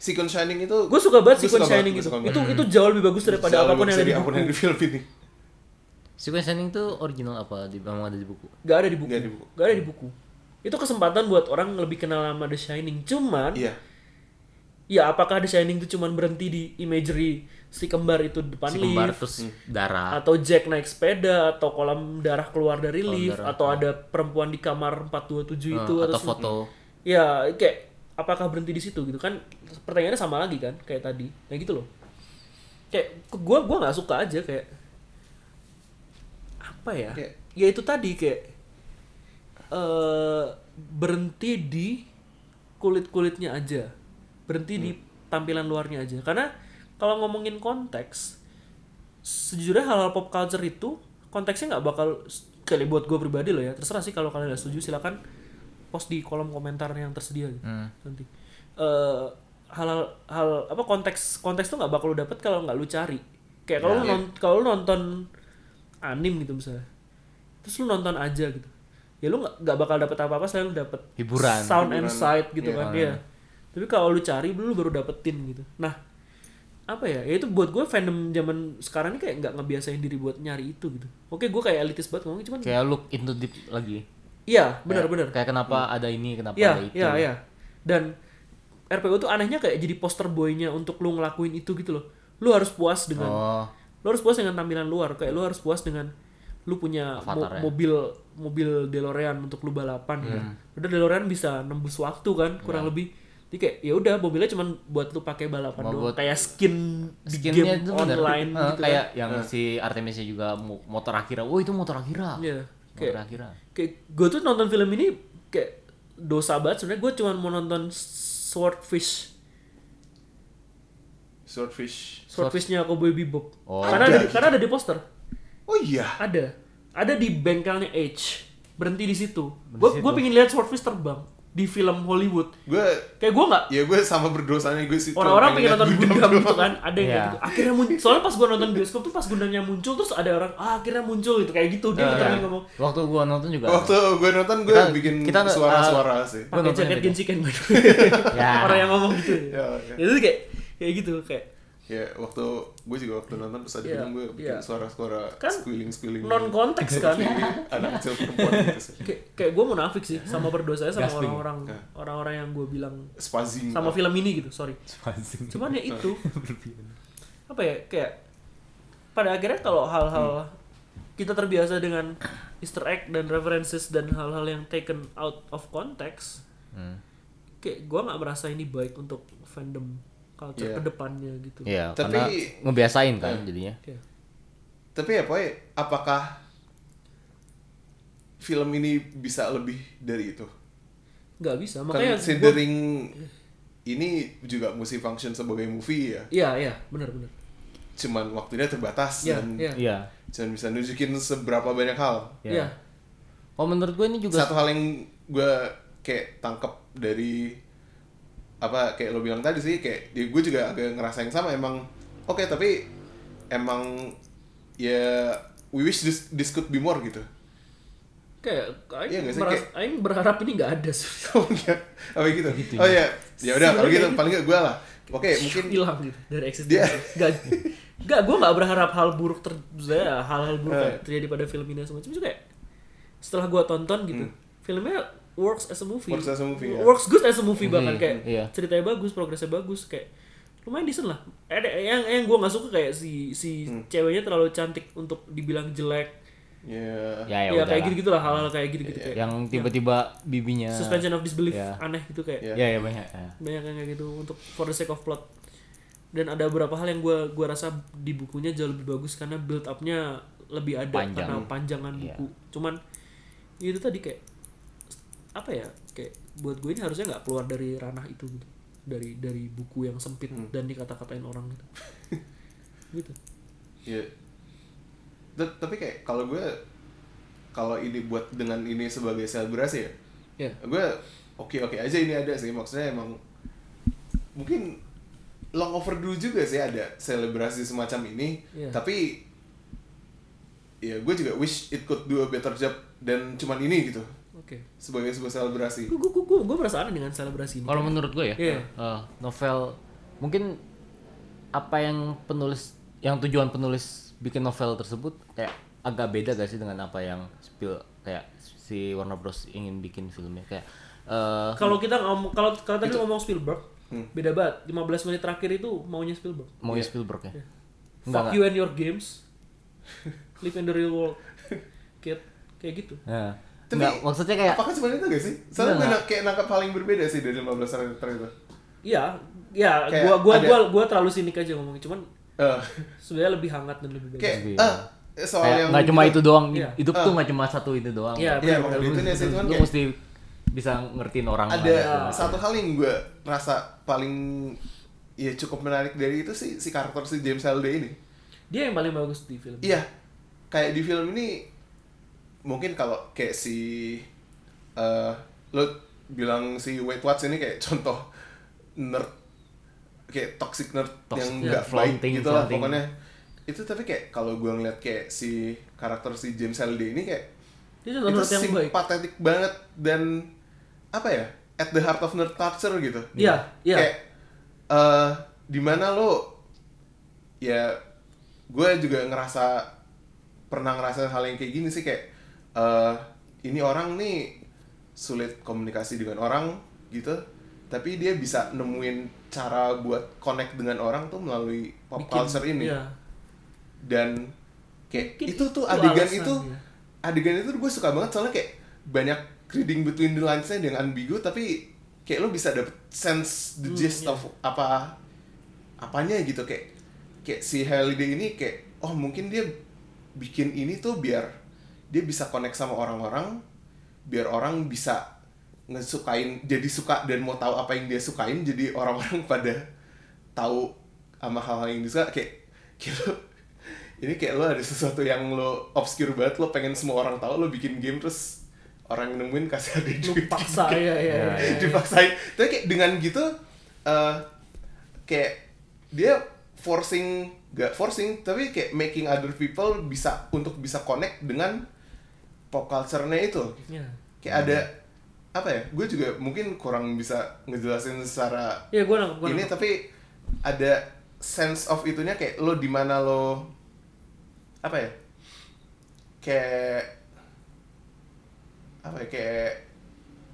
Sequence Shining itu
gue suka banget
gua
sequence
suka banget,
shining
gua
gitu.
suka
Itu
banget.
itu jauh lebih bagus daripada
Jauh
apapun
lebih
yang ada di
dari apapun
buku.
yang di film ini
Sequence ending tuh original apa di memang ada di buku?
Gak ada di buku.
Nggak ada di buku.
Nggak ada di buku. Itu kesempatan buat orang lebih kenal sama The Shining. Cuman
iya
ya apakah The Shining itu cuman berhenti di imagery si kembar itu di depan
Si kembar
lift
Hmm.
terus darah.
atau Jack naik sepeda atau kolam darah keluar dari lift
darah.
atau ada perempuan di kamar 427
eh,
itu
atau
semua-
foto.
ya kayak apakah berhenti di situ gitu kan pertanyaannya sama lagi kan kayak tadi kayak gitu loh kayak ke- gua gua nggak suka aja kayak apa ya
Kayak-
ya itu tadi kayak eh berhenti di kulit kulitnya aja berhenti di tampilan luarnya aja karena kalau ngomongin konteks sejujurnya hal-hal pop culture itu konteksnya nggak bakal kali buat gue pribadi loh ya terserah sih kalau kalian nggak setuju silakan post di kolom komentar yang tersedia gitu.
Hmm.
nanti Eh, hal hal apa konteks konteks tuh nggak bakal lu dapet kalau nggak lu cari kayak kalau lu
Iya.
non- kalau lu nonton anim gitu misalnya terus lu nonton aja gitu ya lu nggak nggak bakal dapet apa apa selain lu dapet
Hiburan.
sound and
Hiburan.
sight gitu
Iya.
kan ya tapi kalau lu cari lu baru dapetin gitu nah apa ya, ya itu buat gue fandom zaman sekarang ini kayak nggak ngebiasain diri buat nyari itu gitu oke gue kayak elitis banget ngomong cuman
Kayak look into deep lagi.
iya benar
Kayak-
benar
Kayak kenapa ada ini, kenapa
Iya,
ada itu. ya?
iya, iya. Dan RPU tuh anehnya kayak jadi poster boynya untuk lu ngelakuin itu gitu loh. Lu harus puas dengan
Oh,
lu harus puas dengan tampilan luar, kayak lu harus puas dengan lu punya mo-
Avatar ya.
mobil mobil DeLorean untuk lu balapan ya. Udah DeLorean bisa nembus waktu kan,
Iya.
kurang lebih. Jadi kayak ya udah mobilnya cuman buat lu pakai balapan
Mau
doang.
buat-
Kayak skin di game
skinnya itu bener.
online
Eh,
gitu
kayak
kan.
yang si Artemisnya juga mo- motor Akira. Oh, itu motor Akira.
Iya.
Motor
Kayak
Akira.
kayak gue tuh nonton film ini kayak dosa banget sebenarnya gue cuman mau nonton Swordfish
Swordfish.
Swordfish-nya Cowboy Bebop.
Oh.
karena
Ada
ada,
gitu.
karena ada di poster.
Oh iya.
Ada. Ada di bengkelnya Edge. Berhenti di situ. Gue gue pengen lihat Swordfish terbang di film Hollywood.
Gue
Kayak gue nggak
ya gue sama berdosanya gue sih. cuma
orang-orang pengen
liat
nonton Gundam gitu
doang.
kan. Ada yang kayak
Iya.
gitu. Akhirnya muncul. Soalnya pas gue nonton bioskop tuh pas Gundamnya muncul terus ada orang ah akhirnya muncul gitu kayak gitu dia
Iya,
literally
iya.
ngomong
Waktu gua nonton juga.
Waktu gue nonton gue
Kita-
bikin
kita, uh,
suara-suara sih.
Gua
pakai
nontonnya
jaket
beda.
Genji Ken by the way.
Ya.
Orang yang ngomong gitu.
Ya, ya.
Itu kayak kayak gitu kayak
Ya waktu gue juga waktu nonton pas ada
Iya,
film gue
iya.
bikin suara-suara
Kan
squealing squealing.
non konteks kan.
anak kecil perempuan gitu sih.
kayak kayak gue munafik sih sama berdosanya sama
Gasping.
orang-orang
Ya.
orang-orang yang gue bilang
Spazzing.
sama film ini gitu sorry
Spazzing.
cuman ya itu apa ya kayak pada akhirnya kalau hal-hal kita terbiasa dengan Easter egg dan references dan hal-hal yang taken out of context
Hmm.
kayak gue nggak merasa ini baik untuk fandom culture
Iya.
kedepannya gitu
Iya,
Tapi-
karena ngebiasain kan jadinya.
Iya.
Tapi ya Poy, apakah film ini bisa lebih dari itu? Kan
nggak bisa makanya gua,
Considering ini juga mesti function sebagai movie ya.
iya iya benar-benar
Cuman waktunya terbatas
Iya,
dan
iya.
Iya.
cuman bisa nunjukin seberapa banyak hal.
Iya.
iya
Oh, menurut gue ini juga
Satu hal yang gue kayak tangkep dari apa kayak lo bilang tadi sih kayak ya gue juga agak ngerasa yang sama emang oke tapi emang ya we wish this, this could be more gitu.
kayak Aing
Iya nggak sih?
meras- Aing berharap ini nggak ada sih
Oh iya, apa gitu? oh iya, ya udah kalau gitu paling gak gue lah. Oke, mungkin
hilang gitu dari eksistensi. Gak, gak gue gak berharap hal buruk ter, maksudnya ya, hal-hal buruk
Eh.
kayak terjadi pada film ini dan semacam juga kayak setelah gue tonton gitu, filmnya works as a movie.
Hmm. Works as a movie, ya.
Works good as a movie bahkan kayak
iya.
ceritanya bagus, progresnya bagus kayak lumayan decent lah. Eh, Ada yang yang gue nggak suka kayak si si
Hmm.
ceweknya terlalu cantik untuk dibilang jelek.
ya
ya ya,
ya
udahlah.
kayak gitu gitulah hal-hal kayak gitu gitu kayak
yang tiba-tiba bibinya
suspension of disbelief
Iya.
aneh gitu kayak.
Iya.
ya ya banyak ya.
banyak yang kayak gitu untuk for the sake of plot dan ada beberapa hal yang gue gua rasa di bukunya jauh lebih bagus karena build upnya lebih ada
Panjang. Iya.
karena panjangan buku cuman ya itu tadi kayak apa ya kayak buat gue ini harusnya nggak keluar dari ranah itu gitu dari dari buku yang sempit
Hmm.
dan dikata-katain orang gitu gitu
ya. T- Tapi kayak kalau gue kalau ini buat dengan ini sebagai selebrasi ya,
ya
Iya.
gue oke oke aja ini ada sih maksudnya emang mungkin long overdue juga sih ada selebrasi semacam ini.
Iya.
Tapi ya gue juga wish it could do a better job dan cuman ini gitu
oke
sebagai sebuah selebrasi.
gue gue gue gue merasa aneh dengan selebrasi ini
Kalau menurut gue ya,
Iya.
eh, novel mungkin apa yang penulis yang tujuan penulis bikin novel tersebut kayak agak beda gak sih dengan apa yang spill kayak si Warner Bros ingin bikin filmnya kayak eh,
kalau kita ngomong kalau kalau tadi ngomong Spielberg
Hmm.
beda banget 15 menit terakhir itu maunya Spielberg
mau
Iya.
Spielberg ya. Enggak,
Fuck you and your games. Live in the real world. Kid. Kayak gitu.
Nah,
Tapi-
enggak, maksudnya kayak
Apakah cuma itu gak sih? Soalnya gue na- kayak nangkap hal yang berbeda sih dari 15 tahun yang terakhir itu.
Iya, ya,
Kayak
gua gua
ada-
gua gua terlalu sinik aja ngomongnya, cuman
Eh,
sebenarnya lebih hangat dan lebih bagus.
kayak
Iya.
eh soal yang
kayak
gitu? Ah.
nggak cuma itu doang
Iya.
hidup tuh nggak cuma satu itu doang
Iya, bener.
Iya, emang gitu nih sih cuman
lu
kayak
mesti bisa ngertiin orang
ada
lah, gitu.
satu hal yang gue rasa paling ya cukup menarik dari itu sih si karakter si James Halday ini.
Dia yang paling bagus di film.
Iya. kayak di film ini mungkin kalau kayak si eh lo bilang si Wade Watts ini kayak contoh nerd kayak toxic nerd
Toxic
yang
nerd,
nggak baik
flaunting,
gitu lah
flaunting.
pokoknya itu tapi kayak kalau gue ngeliat kayak si karakter si James Halliday ini kayak
Ini contoh
itu
nerd yang baik.
simpatetik banget dan apa ya at the heart of nerd culture gitu
Iya, iya.
kayak eh dimana lo ya gue juga ngerasa pernah ngerasa hal yang kayak gini sih kayak eh ini orang nih sulit komunikasi dengan orang gitu tapi dia bisa nemuin cara buat connect dengan orang tuh melalui pop
Bikin-
culture ini
Iya.
dan kayak
Mungkin
itu tuh
itu
adegan
alasan
itu
ya.
adegan itu gue suka banget soalnya kayak banyak reading between the lines-nya yang ambigu tapi kayak lo bisa dapet sense the
Hmm,
gist
iya.
of apa apanya gitu kayak kayak si Halliday ini kayak oh mungkin dia bikin ini tuh biar dia bisa connect sama orang-orang biar orang bisa ngesukain jadi suka dan mau tahu apa yang dia sukain jadi orang-orang pada tahu sama hal-hal yang disuka kayak, kayak lo- ini kayak lo ada sesuatu yang lo obscure banget lo pengen semua orang tahu lo bikin game terus orang yang nemuin kasih ada
Lu
duit gitu.
paksa ya, ya,
Iya,
ya, ya.
dipaksain tapi kayak dengan gitu eh kayak dia forcing gak forcing tapi kayak making other people bisa untuk bisa connect dengan pop culture-nya itu
Iya.
kayak ada apa ya gue juga mungkin kurang bisa ngejelasin secara
Iya, gue nangkep, gue
ini
nangkep.
tapi ada sense of itunya kayak lo di mana lo apa ya kayak apa ya kayak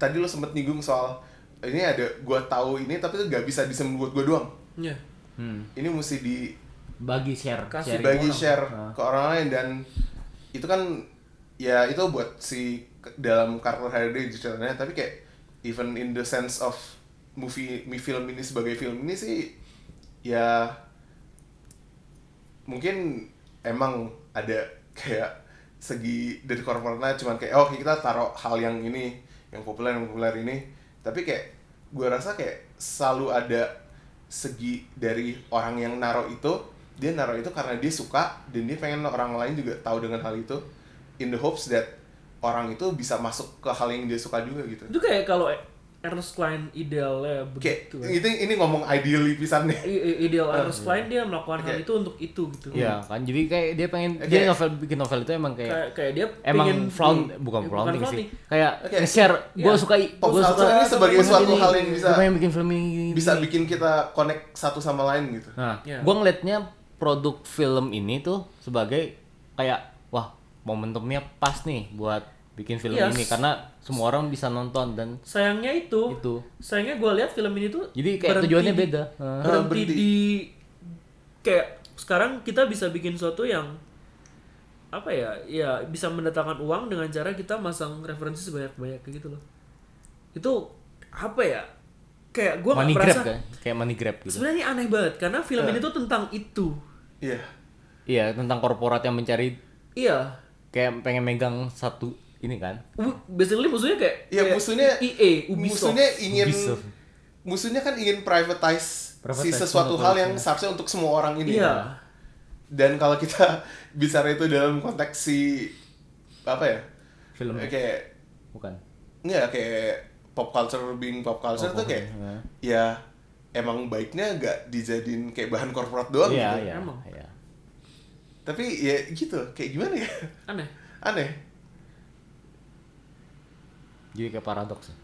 tadi lo sempet nyinggung soal ini ada gua tahu ini tapi tuh gak bisa disembunyikan buat gua doang
Iya.
Hmm.
ini mesti di
Bagi share,
Kasih
sharing.
bagi
orang.
share
Nah.
ke orang lain dan itu kan ya itu buat si ke- dalam karakter Halliday ceritanya tapi kayak even in the sense of movie mi- film ini sebagai film ini sih ya mungkin emang ada kayak segi dari korporatnya cuman kayak oh kita taruh hal yang ini yang populer yang populer ini tapi kayak gue rasa kayak selalu ada segi dari orang yang naruh itu dia naruh itu karena dia suka dan dia pengen orang lain juga tahu dengan hal itu in the hopes that orang itu bisa masuk ke hal yang dia suka juga gitu
Itu kayak kalau Ernest Klein idealnya
kayak iya.
begitu. eh.
itu ini ngomong ideally pisannya
I- i- ideal Ernest Klein dia melakukan hal
Kayak-
itu untuk itu gitu.
Iya kan, jadi kayak dia pengen
Oke.
dia novel bikin novel itu emang kayak
Kayak, kayak dia iya,
emang
pingin-
flaunt bukan flaunting sih. Kayak
Oke.
share gua
Iya.
suka
Pop
gua
culture
suka
ini sebagai
gua suka
suatu
gini,
hal yang bisa-
gua pengen bikin film ini. gini,
bisa
gini.
bikin kita connect satu sama lain gitu
Nah,
Iya.
gua ngelihatnya produk film ini tuh sebagai kayak wah, momentumnya pas nih buat bikin film
Yes.
ini karena semua orang bisa nonton dan
sayangnya itu,
Itu.
sayangnya gue lihat film ini tuh
jadi kayak
berhenti
tujuannya
di-
beda. Heeh.
Ah,
berhenti,
berhenti.
di kayak sekarang kita bisa bikin sesuatu yang apa ya ya bisa mendatangkan uang dengan cara kita masang referensi sebanyak banyak gitu loh itu apa ya kayak gue nggak
money grab
merasa
kan, kayak money grab gitu.
sebenarnya ini aneh banget karena
Ah.
film ini tuh tentang itu
iya
Iya, tentang korporat yang mencari
iya
kayak pengen megang satu ini kan.
W- basically musuhnya kayak
Iya
kayak
musuhnya
EA Ubisoft
musuhnya ingin
Ubisoft.
musuhnya kan ingin privatize, si
Privatize
sesuatu
monopoli,
hal yang
ya.
seharusnya untuk semua orang ini. kan?
iya
Dan kalau kita bicara itu dalam konteks si apa ya?
Film.
Kayak
Bukan.
enggak kayak pop culture being pop culture
Pop
tuh kayak
culture, iya.
ya emang baiknya nggak dijadiin kayak bahan korporat doang gitu.
Iya, iya,
Emang.
iya.
Tapi ya gitu, kayak gimana ya?
aneh
Aneh.
Jadi kayak paradoks. ya.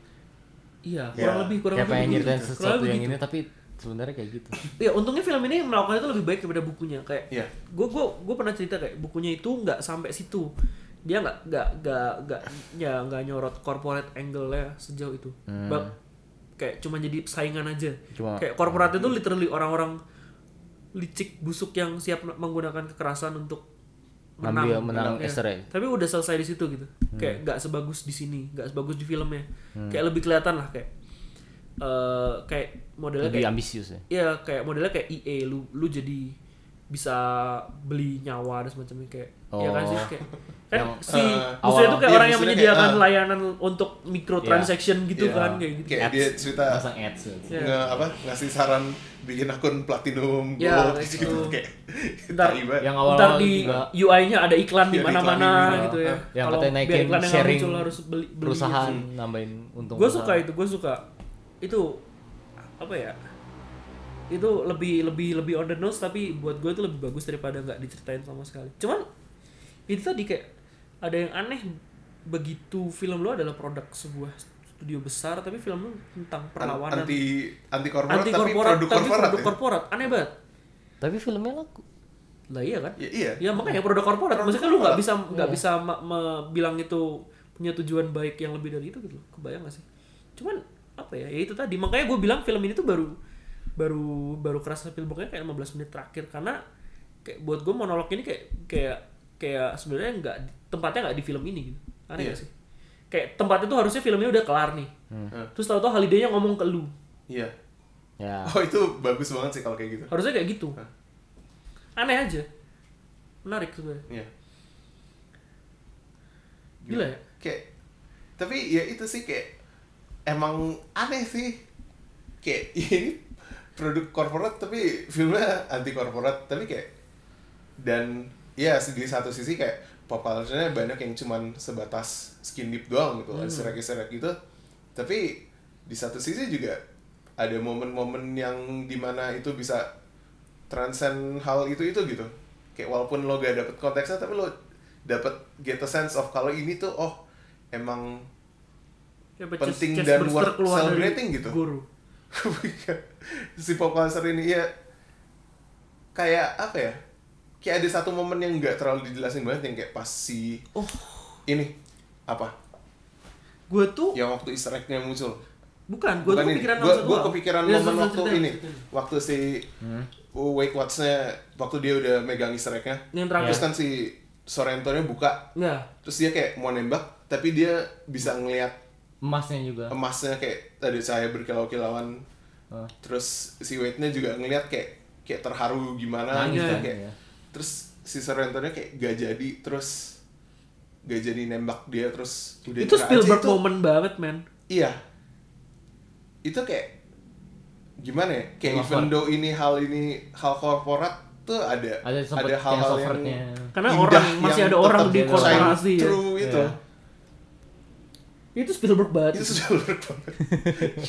iya
Ya,
kurang lebih kurang
Kayak
lebih
pengen
begitu.
nyeritain
Kurang
sesuatu
lebih gitu.
yang
begitu.
ini tapi sebenarnya kayak gitu.
Ya untungnya film ini melakukan itu lebih baik daripada bukunya kayak.
Iya.
Gue gue gue pernah cerita kayak bukunya itu nggak sampai situ. Dia nggak nggak nggak nggak ya nggak nyorot corporate angle nya sejauh itu. Bak- kayak cuma jadi saingan aja.
Hmm. Cuma-
kayak korporat itu literally orang-orang licik busuk yang siap menggunakan kekerasan untuk menang,
Ambil- menang Hmm.
bilangnya.
eser ya.
Tapi udah selesai di situ gitu. Kayak nggak sebagus di sini, nggak sebagus di filmnya.
Hmm.
Kayak lebih kelihatan lah kayak eh kayak modelnya
Lebih
kayak
ambisius ya.
E Iya kayak modelnya kayak EA lu lu jadi bisa beli nyawa dan semacamnya kayak ya
Oh.
kan sih kayak kan
Yang,
si
eh,
maksudnya
awal-
itu kayak
iya,
orang yang
maksudnya
menyediakan
kayak, eh,
layanan untuk microtransaction gitu
Iya.
kan kayak gitu.
Kayak dia cerita
Pasang ads.
Iya.
nge apa ngasih saran bikin akun platinum
Ya,
gold
kayak
gitu,
gitu.
kayak
Ntar.
tai banget.
Yang
Ntar
awal-awal
di
juga
UI-nya ada iklan di
Iya, di iklan
mana-mana
ini,
gitu ya.
eh.
yang
Kalau
katanya
biar
naikin
iklan yang nggak
sharing
muncul harus beli, gitu. beli
perusahaan nambahin untung.
gue suka
perusahaan.
itu gue suka itu apa ya itu lebih lebih lebih on the nose tapi buat gue itu lebih bagus daripada nggak diceritain sama sekali cuman itu tadi kayak ada yang aneh begitu film lo adalah produk sebuah studio besar tapi film lo tentang perlawanan
anti anti korporat
anti
tapi
korporat
produk
tapi
korporat
produk
ya?
korporat aneh banget
Tapi filmnya laku.
lah iya kan
Ya, iya
ya makanya produk korporat
Produk
maksudnya lu nggak
korporat. Iya.
bisa nggak bisa ma- ma- bilang itu punya tujuan baik yang lebih dari itu gitu loh kebayang gak sih cuman apa ya ya itu tadi makanya gue bilang film ini tuh baru baru baru kerasa filmnya kayak 15 menit terakhir karena kayak buat gue monolog ini kayak kayak kayak sebenarnya nggak tempatnya nggak di film ini gitu aneh
Iya.
gak sih kayak tempatnya tuh harusnya filmnya udah kelar nih
Hmm.
terus tahu-tahu Halidaynya ngomong ke lu
iya
Ya.
oh itu bagus banget sih kalau kayak gitu
harusnya kayak gitu aneh aja menarik sebenarnya
iya
gila ya
kayak tapi ya itu sih kayak emang aneh sih kayak ini produk korporat tapi filmnya anti korporat tapi kayak dan ya di satu sisi kayak pop culture-nya banyak yang cuman sebatas skin deep
Hmm.
doang gitu ada serak-serak gitu tapi di satu sisi juga ada momen-momen yang dimana itu bisa transcend hal itu itu gitu kayak walaupun lo gak dapet konteksnya tapi lo dapet get a sense of kalau ini tuh oh emang
Kayak
Penting
Chase- Chase
dan
Burster
worth
keluar dari
celebrating gitu.
Guru.
si pop culture ini ya kayak apa ya kayak ada satu momen yang nggak terlalu dijelasin banget yang kayak pas si
Oh,
ini apa
gue tuh
yang waktu Easter egg-nya muncul
bukan, gue tuh
Iya. ini.
kepikiran
Gua-
langsung
gua
doang.
kepikiran
Ya,
momen
ceritain,
waktu
ceritain,
ini
ceritain.
waktu si Wake Watch-nya waktu dia udah megang Easter egg-nya
Yang terakhir.
terus kan si Sorrento-nya buka
Ya,
terus dia kayak mau nembak tapi dia bisa ngelihat
Emasnya juga.
emasnya kayak ada cahaya berkilau-kilauan
Hah.
terus si Wade-nya juga ngelihat kayak kayak terharu gimana
Nangis
gitu
kan,
kayak
iya.
terus si Sorrento-nya kayak gak jadi terus gak jadi nembak dia terus udah
itu
nyerah aja,
Spielberg
itu-
moment banget, men.
Iya. Itu kayak gimana ya? Kayak
Yang
even
awkward.
though ini hal ini hal korporat tuh ada
Ada sempet yang
hal-hal yang,
software-nya.
Karena
indah
orang- masih
yang
ada orang
tetap
di
shine
korporasi ya.
True itu.
Iya.
Itu Spielberg banget.
Iya, Itu Iya. sudah menurut banget.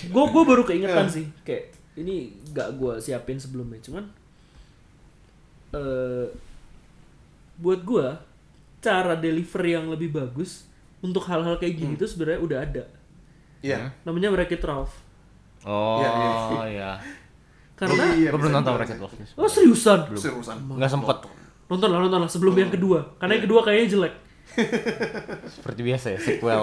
Gue gue baru keingetan sih, kayak ini gak gue siapin sebelumnya, cuman eh buat gue cara deliver yang lebih bagus untuk hal-hal kayak gini
Hmm.
tuh sebenarnya udah ada.
Iya.
Namanya Wreck-It Ralph.
Oh,
Iya, iya.
iya.
Karena
Iya,
Gue belum
bisa
nonton
dibilang
Rocket
sih.
Love.
Oh seriusan?
Seriusan.
Nggak sempet.
Nonton lah, nonton lah sebelum
Oh.
yang kedua. Karena
Iya.
yang kedua kayaknya jelek.
Seperti biasa ya,
Iya.
sequel.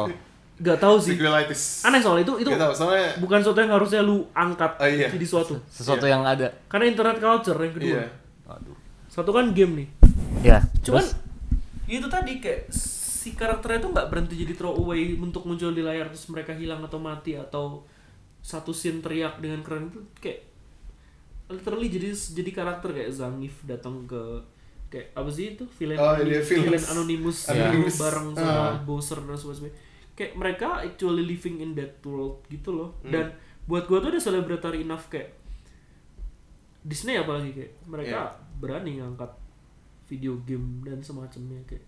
Gak tahu sih.
Sequelitis.
Aneh soal itu itu
Gak tau, soalnya
bukan sesuatu yang harusnya lu angkat
Oh, iya.
jadi suatu.
Sesuatu yang ada.
Karena internet culture yang kedua.
iya.
Aduh.
Satu kan game nih. Iya.
Ya.
Cuman
terus?
itu tadi kayak si karakternya tuh nggak berhenti jadi throwaway untuk muncul di layar terus mereka hilang atau mati atau satu scene teriak dengan keren itu kayak literally jadi jadi karakter kayak Zangief datang ke kayak apa sih itu villain
Oh,
anoni-
iya, villains.
villain anonymous
Iya.
gitu, bareng sama Bowser dan sebagainya kayak mereka actually living in that world gitu loh dan buat gua tuh udah celebratory enough kayak Disney apalagi kayak mereka berani ngangkat video game dan semacamnya kayak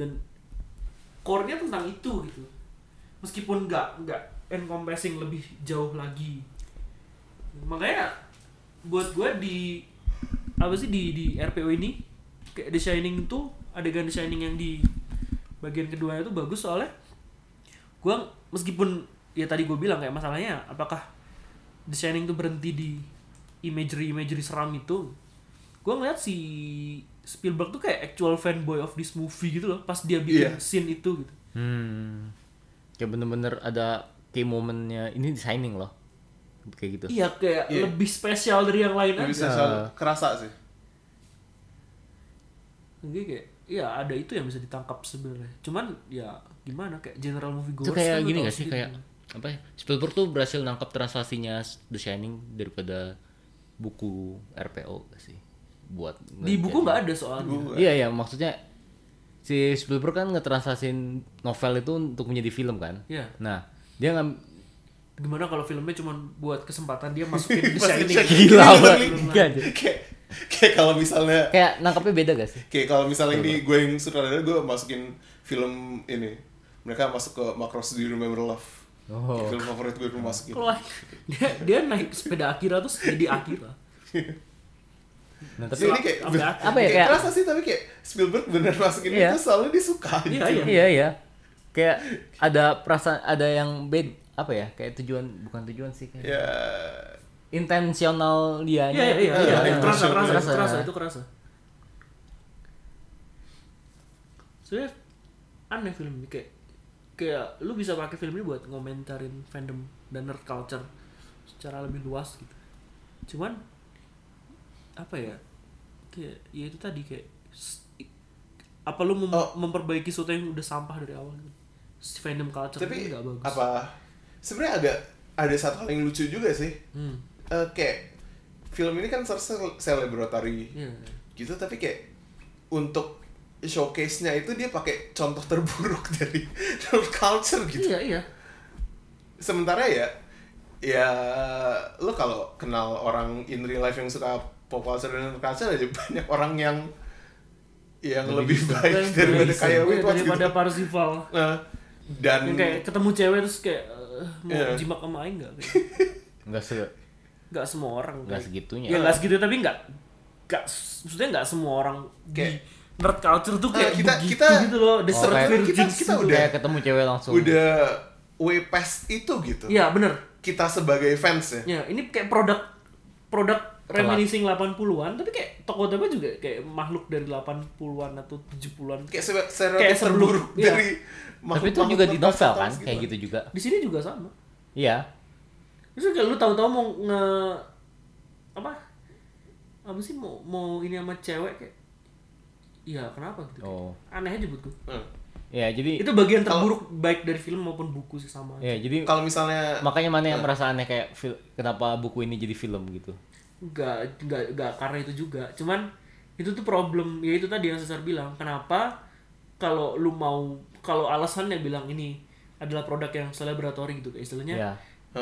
dan core-nya tentang itu gitu meskipun nggak nggak encompassing lebih jauh lagi makanya buat gue di apa sih di di RPO ini kayak The Shining itu adegan The Shining yang di bagian keduanya itu bagus soalnya gue meskipun ya tadi gue bilang kayak masalahnya apakah The Shining itu berhenti di imagery imagery seram itu gue ngeliat si Spielberg tuh kayak actual fanboy of this movie gitu loh pas dia bikin
Iya.
scene itu gitu
Hmm. Kayak bener-bener ada key momennya. Ini designing loh. Kayak gitu.
iya kayak
Iya.
lebih spesial dari yang lain aja
Lebih
Iya.
sosial- kerasa sih.
jadi kayak ya ada itu yang bisa ditangkap sebenarnya cuman ya gimana kayak general movie
itu
goers
kayak gini gak sih kayak apa ya Spielberg tuh berhasil nangkap translasinya The Shining daripada buku RPO gak sih buat
Di buku nggak ada soalnya.
Buku.
Iya iya maksudnya si Spielberg kan ngetranslasin novel itu untuk menjadi film kan.
Iya.
Nah dia ngam
Gimana kalau filmnya cuma buat kesempatan dia masukin di Shining?
gila
Gila,
banget.
gila.
Enggak, anjir.
kayak kayak kalau misalnya
Kayak nangkapnya beda gak sih?
kayak kalau misalnya
Iya.
ini gue yang sutradara gue masukin film ini mereka masuk ke Macross Do You Remember Love
Oh.
Kayak film favorit gue gue masukin
Keluar. dia, dia naik sepeda Akira terus jadi Akira.
Nah,
tapi
tapi
ini kayak
Sampai akhir.
Apa ya,
kayak
kayak-
kerasa sih tapi kayak Spielberg bener masukin
Iya.
itu soalnya dia suka
Iya,
gitu.
iya.
iya iya. Kayak ada perasaan ada yang beda apa ya? Kayak tujuan bukan tujuan sih kayak
ya
intensional dia
Iya iya iya.
Iya,
iya.
iya.
Kerasa kerasa
Kerasa.
itu kerasa itu kerasa. Sebenarnya aneh film ini kayak kayak lu bisa pakai film ini buat ngomentarin fandom dan nerd culture secara lebih luas gitu. Cuman apa ya? Kayak ya itu tadi kayak s- i- apa lu mem-
Oh.
memperbaiki sesuatu yang udah sampah dari awal gitu. Fandom culture
tapi
itu nggak bagus.
apa sebenarnya ada ada satu hal yang lucu juga sih
Hmm.
Eh, kayak film ini kan seharusnya celebratory
Iya.
gitu tapi kayak untuk showcase-nya itu dia pakai contoh terburuk dari nerd culture gitu
Iya iya.
sementara ya ya lo kalau kenal orang in real life yang suka pop culture dan nerd culture aja banyak orang yang yang lebih, baik
Yang
daripada
baik.
kayak
Iya,
Wait Watch gitu
daripada Parzival.
nah dan
yang kayak ketemu cewek terus kayak eh, mau
Iya.
jimak sama aing enggak?
Enggak se
Enggak semua orang.
enggak
kayak.
segitunya.
Ya enggak segitu tapi enggak enggak maksudnya enggak semua orang
Kayak-
di nerd culture tuh
Ah,
kayak
kita-
begitu
kita-
gitu loh, the
Oh,
circle
kayak-
kita-
jerks
kita
gitu.
udah-
Kayak ketemu cewek langsung.
udah way past itu gitu
Iya, bener.
kita sebagai fans ya
Iya.
Ya, ini kayak produk produk reminiscing 80-an tapi kayak toko apa juga kayak makhluk dari 80-an atau 70-an.
kayak se- stereotip
sebelum-
terburuk
iya.
dari
gitu, Tapi
makhluk-
itu juga di
makhluk
novel
nerd
kan,
culture
kayak
gitu.
gitu juga.
Di sini juga sama.
Iya.
Terus kayak lu tahu-tahu mau nge apa? Apa sih mau mau ini sama cewek kayak Iya, kenapa gitu?
Oh.
Aneh aja buat gue.
Hmm.
Ya, jadi
Itu bagian terburuk baik dari film maupun buku sih sama. aja.
ya jadi
kalau Iya. misalnya
makanya mana yang merasa aneh kayak fil- kenapa buku ini jadi film gitu.
Enggak, enggak, enggak karena itu juga. Cuman itu tuh problem, ya itu tadi yang Cesar bilang. Kenapa kalau lu mau kalau alasannya bilang ini adalah produk yang celebratory gitu kayak istilahnya.
Iya.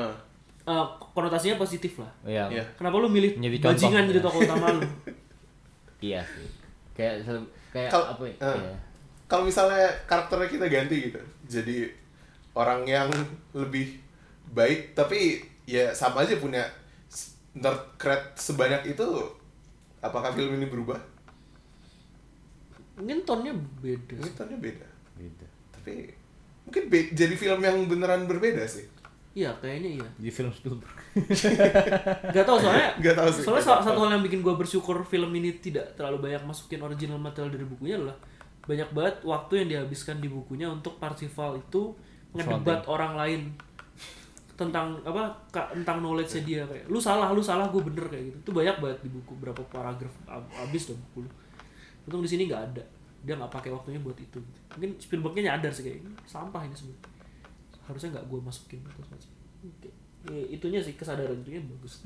Hah.
eh, konotasinya positif lah.
Iya.
Iya.
Kenapa lu milih
Menjadi contoh,
bajingan jadi
ya.
tokoh utama lu?
Iya sih. Kayak se- kayak
Kal-
apa ya?
eh.
Iya.
kalau misalnya karakternya kita ganti gitu jadi orang yang lebih baik tapi ya sama aja punya s- nerd cred sebanyak itu apakah film ini berubah?
Mungkin tone-nya beda.
Mungkin tone-nya beda
Gitu.
tapi mungkin be- jadi film yang beneran berbeda sih
Iya, kayaknya iya.
Di film Spielberg.
Gak tau soalnya.
Nggak tahu sih.
Soalnya salah satu hal yang bikin gue bersyukur film ini tidak terlalu banyak masukin original material dari bukunya adalah banyak banget waktu yang dihabiskan di bukunya untuk Parsival itu ngedebat orang lain tentang apa ka- tentang knowledge nya dia kayak lu salah lu salah gue bener kayak gitu itu banyak banget di buku berapa paragraf ab- abis dong buku lu untung di sini nggak ada dia nggak pakai waktunya buat itu gitu. mungkin Spielbergnya nyadar sih kayak ini sampah ini sebenarnya harusnya nggak gue masukin atau semacam Oke. Eh, itunya sih kesadaran itunya bagus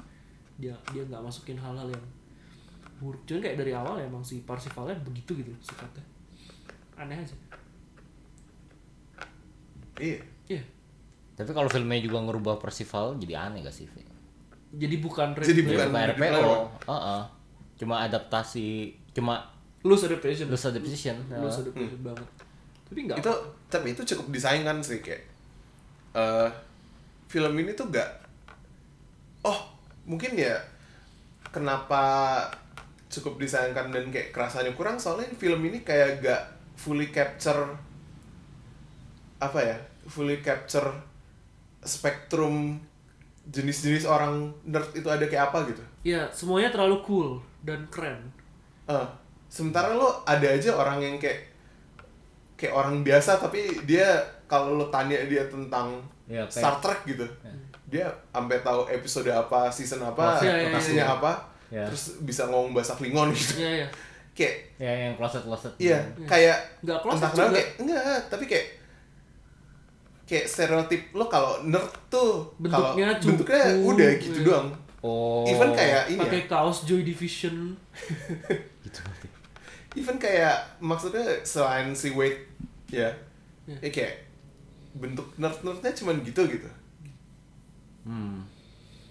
dia dia nggak masukin hal-hal yang buruk cuman kayak dari awal emang si Parsivalnya begitu gitu sifatnya aneh aja
iya
iya
Tapi kalau filmnya juga ngerubah Percival jadi aneh gak sih? Fi?
jadi bukan
Jadi
red-
bukan-
Bukan RPO.
bukan.
Heeh. Oh, Cuma adaptasi, cuma
loose adaptation
loose adaptation.
loose adaptation banget tapi nggak
Hmm. itu tapi itu cukup disaingan sih kayak eh film ini tuh gak oh mungkin ya kenapa cukup disayangkan dan kayak kerasanya kurang soalnya film ini kayak gak fully capture apa ya fully capture spektrum jenis-jenis orang nerd itu ada kayak apa gitu
ya semuanya terlalu cool dan keren
Eh, sementara lo ada aja orang yang kayak kayak orang biasa tapi dia kalau lo tanya dia tentang
Ya,
Iya, kayak-
Star Trek gitu. Dia sampai tahu episode apa, season
Iya,
apa,
iya, iya,
lokasinya
iya.
apa,
Iya.
terus bisa ngomong bahasa Klingon gitu.
ya ya
kayak
Ya yang closet-closet.
iya,
Hmm.
kayak
Nggak close ya
entah
juga.
kenapa kayak enggak, tapi kayak kayak stereotip lo kalau nerd tuh kalau
Bentuknya cupu.
bentuknya udah gitu
Iya.
doang.
Oh.
even kayak ini ya
pakai kaos Joy Division
gitu.
even kayak maksudnya selain si Wade ya ya kayak bentuk nerd-nerdnya cuman gitu gitu
Hmm.